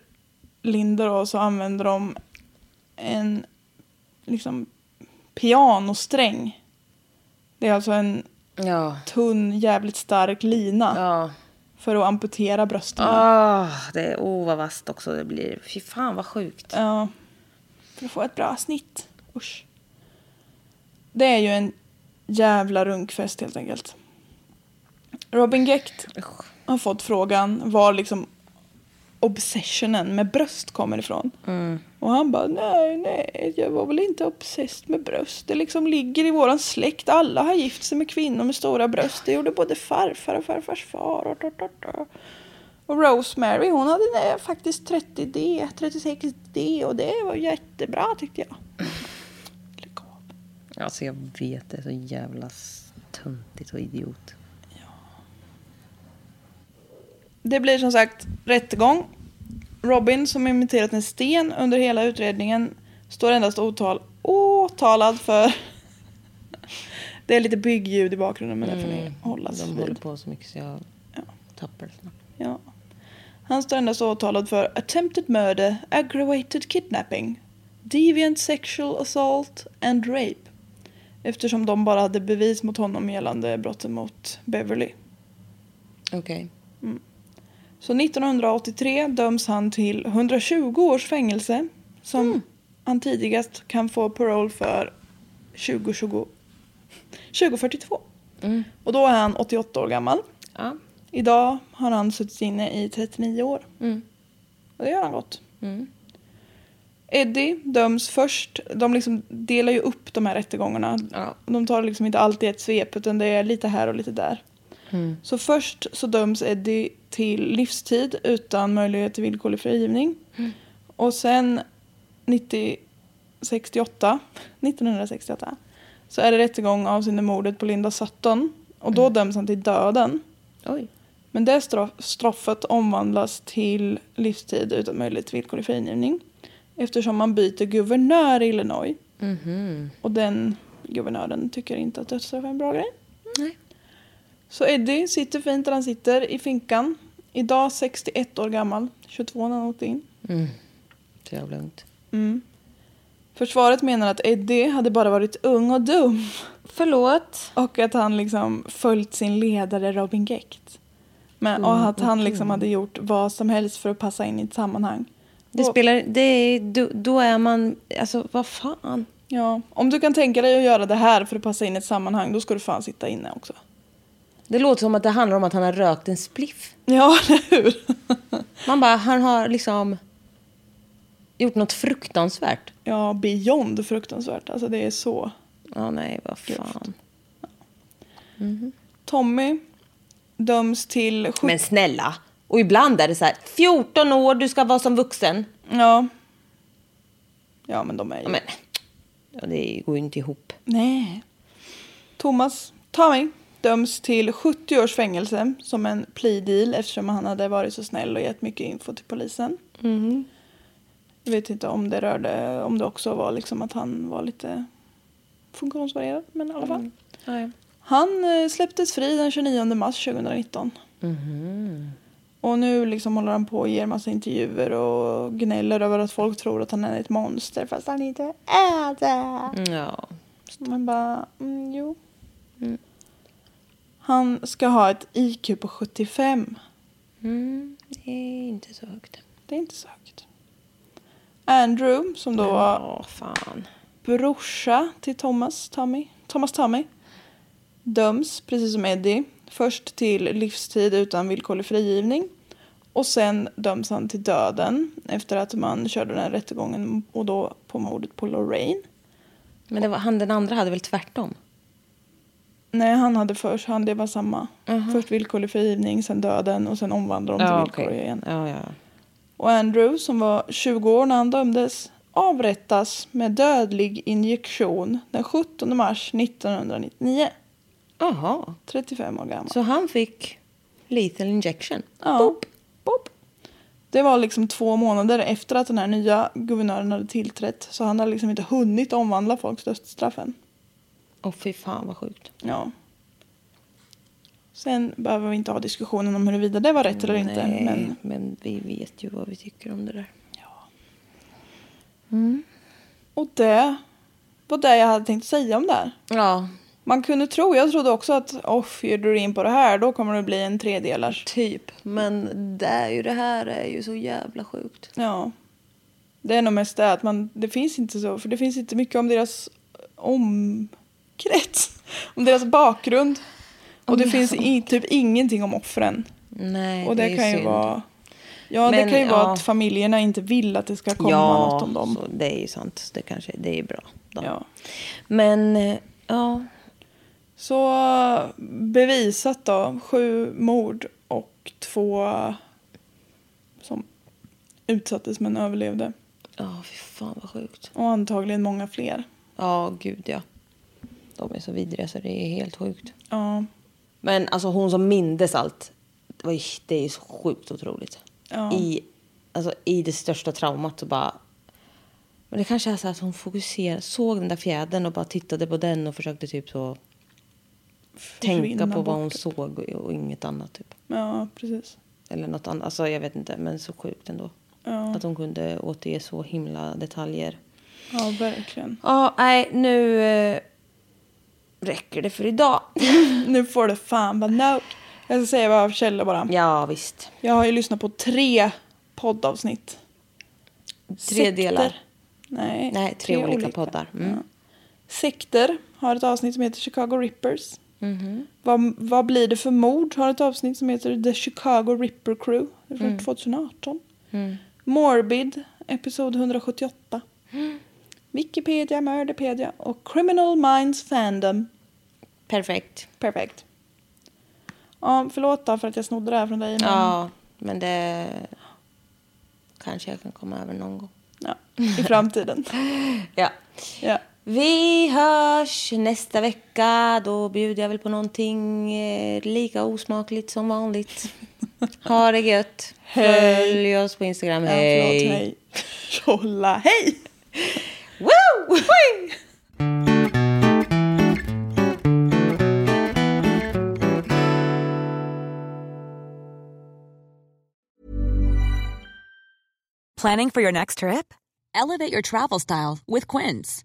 Linda då så använder de en liksom pianosträng. Det är alltså en
Ja.
tunn, jävligt stark lina
Ja.
för att amputera brösten.
Åh, det är oh, vad vasst också det blir. Fy fan vad sjukt.
Ja. För att få ett bra snitt. Usch. Det är ju en jävla runkfest helt enkelt. Robin Gecht
Usch.
har fått frågan var liksom obsessionen med bröst kommer ifrån. Och han bara nej, nej, jag var väl inte obsessed med bröst. Det liksom ligger i våran släkt. Alla har gift sig med kvinnor med stora bröst. Det gjorde både farfar och farfars far. Och, och, och, och. Och Rosemary hon hade eh, faktiskt 30D, 36D och det var jättebra tyckte jag. Lägg av.
Alltså jag vet, det är så jävla töntigt och idiot.
Det blir som sagt rättegång. Robin som imiterat en sten under hela utredningen står endast otal, åtalad för... Det är lite byggljud i bakgrunden men det får ni hålla
Mm, De
sig
håller
vid.
på så mycket så jag
Ja.
tappar det snabbt.
Ja. Han står endast åtalad för attempted murder, aggravated kidnapping, deviant sexual assault and rape. Eftersom de bara hade bevis mot honom gällande brotten mot Beverly.
Okej.
Så 1983 döms han till 120 års fängelse som han tidigast kan få parole för 2020, 2042. Och då är han 88 år gammal.
Ja.
Idag har han suttit inne i 39 år. Och det gör han gott. Eddie döms först. De liksom delar ju upp de här rättegångarna.
Ja.
De tar liksom inte alltid ett svep utan det är lite här och lite där. Så först så döms Eddie till livstid utan möjlighet till villkorlig frigivning. Och sen 90, 68, 1968 så är det rättegång avseende mordet på Linda Sutton. Och då döms han till döden.
Oj.
Men det stra- straffet omvandlas till livstid utan möjlighet till villkorlig frigivning. Eftersom man byter guvernör i Illinois. Och den guvernören tycker inte att dödsstraff är en bra grej.
Nej.
Så Eddie sitter fint där han sitter i finkan. Idag 61 år gammal. 22 när han åkte in.
Så jävla lugnt.
Försvaret menar att Eddie hade bara varit ung och dum.
Förlåt.
Och att han liksom följt sin ledare Robin Gecht. Men,
Mm,
och att han liksom hade gjort vad som helst för att passa in i ett sammanhang.
Det
Och-
spelar, det är, då, då är man, alltså vad fan.
Ja, om du kan tänka dig att göra det här för att passa in i ett sammanhang, då ska du fan sitta inne också.
Det låter som att det handlar om att han har rökt en spliff.
Ja, eller hur?
Man bara, han har liksom gjort något fruktansvärt.
Ja, beyond fruktansvärt. Alltså det är så.
Ja, nej, vad fan.
Tommy döms till... sjut-
Men snälla. Och ibland är det så här, 14 år, du ska vara som vuxen.
Ja. Ja, men de är ju...
Ja, men, ja, det går ju inte ihop.
Nej. Thomas Tommy döms till 70 års fängelse som en plea deal eftersom han hade varit så snäll och gett mycket info till polisen. Jag vet inte om det rörde, om det också var liksom att han var lite funktionsvarierad, men i alla fall. Han eh, släpptes fri den 29 mars 2019. Och nu liksom håller han på och ger massa intervjuer och gnäller över att folk tror att han är ett monster fast han inte är det.
Ja.
Man bara, mm, jo. Han ska ha ett IQ på 75.
Det är inte så högt.
Det är inte så högt. Andrew, som då var
Ja, fan.
brorsa till Thomas Tommy, Thomas Tommy döms, precis som Eddie, först till livstid utan villkorlig frigivning. Och sen döms han till döden efter att man körde den här rättegången och då på mordet på Lorraine.
Men det var, han den andra hade väl tvärtom?
Nej, han hade först, han, det var samma. Först villkorlig frigivning, sen döden och sen omvandlade de till villkorlig igen.
Ja, ja.
Och Andrew, som var 20 år när han dömdes, avrättas med dödlig injektion den 17 mars 1999.
Jaha.
35 år gammal.
Så han fick lethal injection.
Ja. Boop. Det var liksom två månader efter att den här nya guvernören hade tillträtt. Så han hade liksom inte hunnit omvandla folks dödsstraff än.
Åh fy fan vad sjukt.
Ja. Sen behöver vi inte ha diskussionen om huruvida det var rätt eller inte.
Nej,
Men
men vi vet ju vad vi tycker om det där.
Och det var det jag hade tänkt säga om det här.
Ja,
Man kunde tro, jag trodde också att off, ger du dig in på det här då kommer det bli en tredelars.
typ. Men det, är ju, det här är ju så jävla sjukt.
Ja. Det är nog mest det att man, det finns inte så, för det finns inte mycket om deras omkrets. Om deras bakgrund. Och det finns i, typ ingenting om offren.
Nej,
Och det,
är
kan ju
synd.
vara... Ja,
Men,
det kan ju vara
ja.
att familjerna inte vill att det ska komma
ja,
något om dem.
Så det är ju sant. Det, kanske, det är ju bra. Då.
Ja.
Men eh, ja,
Så bevisat då, sju mord och två som utsattes men överlevde.
ja fy fan vad sjukt.
Och antagligen många fler.
Ja, gud ja. De är så vidriga så det är helt sjukt.
Ja,
Men alltså hon som mindes allt, det var ju- det är ju så sjukt otroligt.
Ja.
I, alltså, I det största traumat så bara... Men det kanske är så att hon fokuserade, såg den där fjädern och bara tittade på den och försökte typ så tänka på vad hon
bort.
såg och, och inget annat. Typ.
Ja, precis.
Eller något annat, alltså jag vet inte, men så sjukt ändå.
Ja.
Att hon kunde återge så himla detaljer.
Ja, verkligen.
Ja, nej, nu eh, räcker det för idag.
Nu får det fan vara nog. Jag ska säga vad jag har för källa bara.
ja, visst.
Jag har ju lyssnat på tre poddavsnitt.
Tre delar.
Nej,
Nej, tre, olika, poddar. Mm.
Sekter har ett avsnitt som heter Chicago Rippers.
Mhm.
Vad, vad blir det för mord har ett avsnitt som heter The Chicago Ripper Crew. Det är från
Mm.
2018. Morbid, episod 178. Wikipedia, Murderpedia och Criminal Minds Fandom.
Perfekt.
Perfekt. Ja, förlåt då för att jag snodde det här från dig. men-
Ja, men det kanske jag kan komma över någon gång.
ja. I framtiden.
Ja.
ja.
Vi hörs nästa vecka. Då bjuder jag väl på någonting eh, lika osmakligt som vanligt. Ha det gött.
Hej.
Följ oss på Instagram.
Ja, förlåt,
Hej.
hej. Tjolla, hej!
Woo! Hej!
Planning for your next trip? Elevate your travel style with Quince.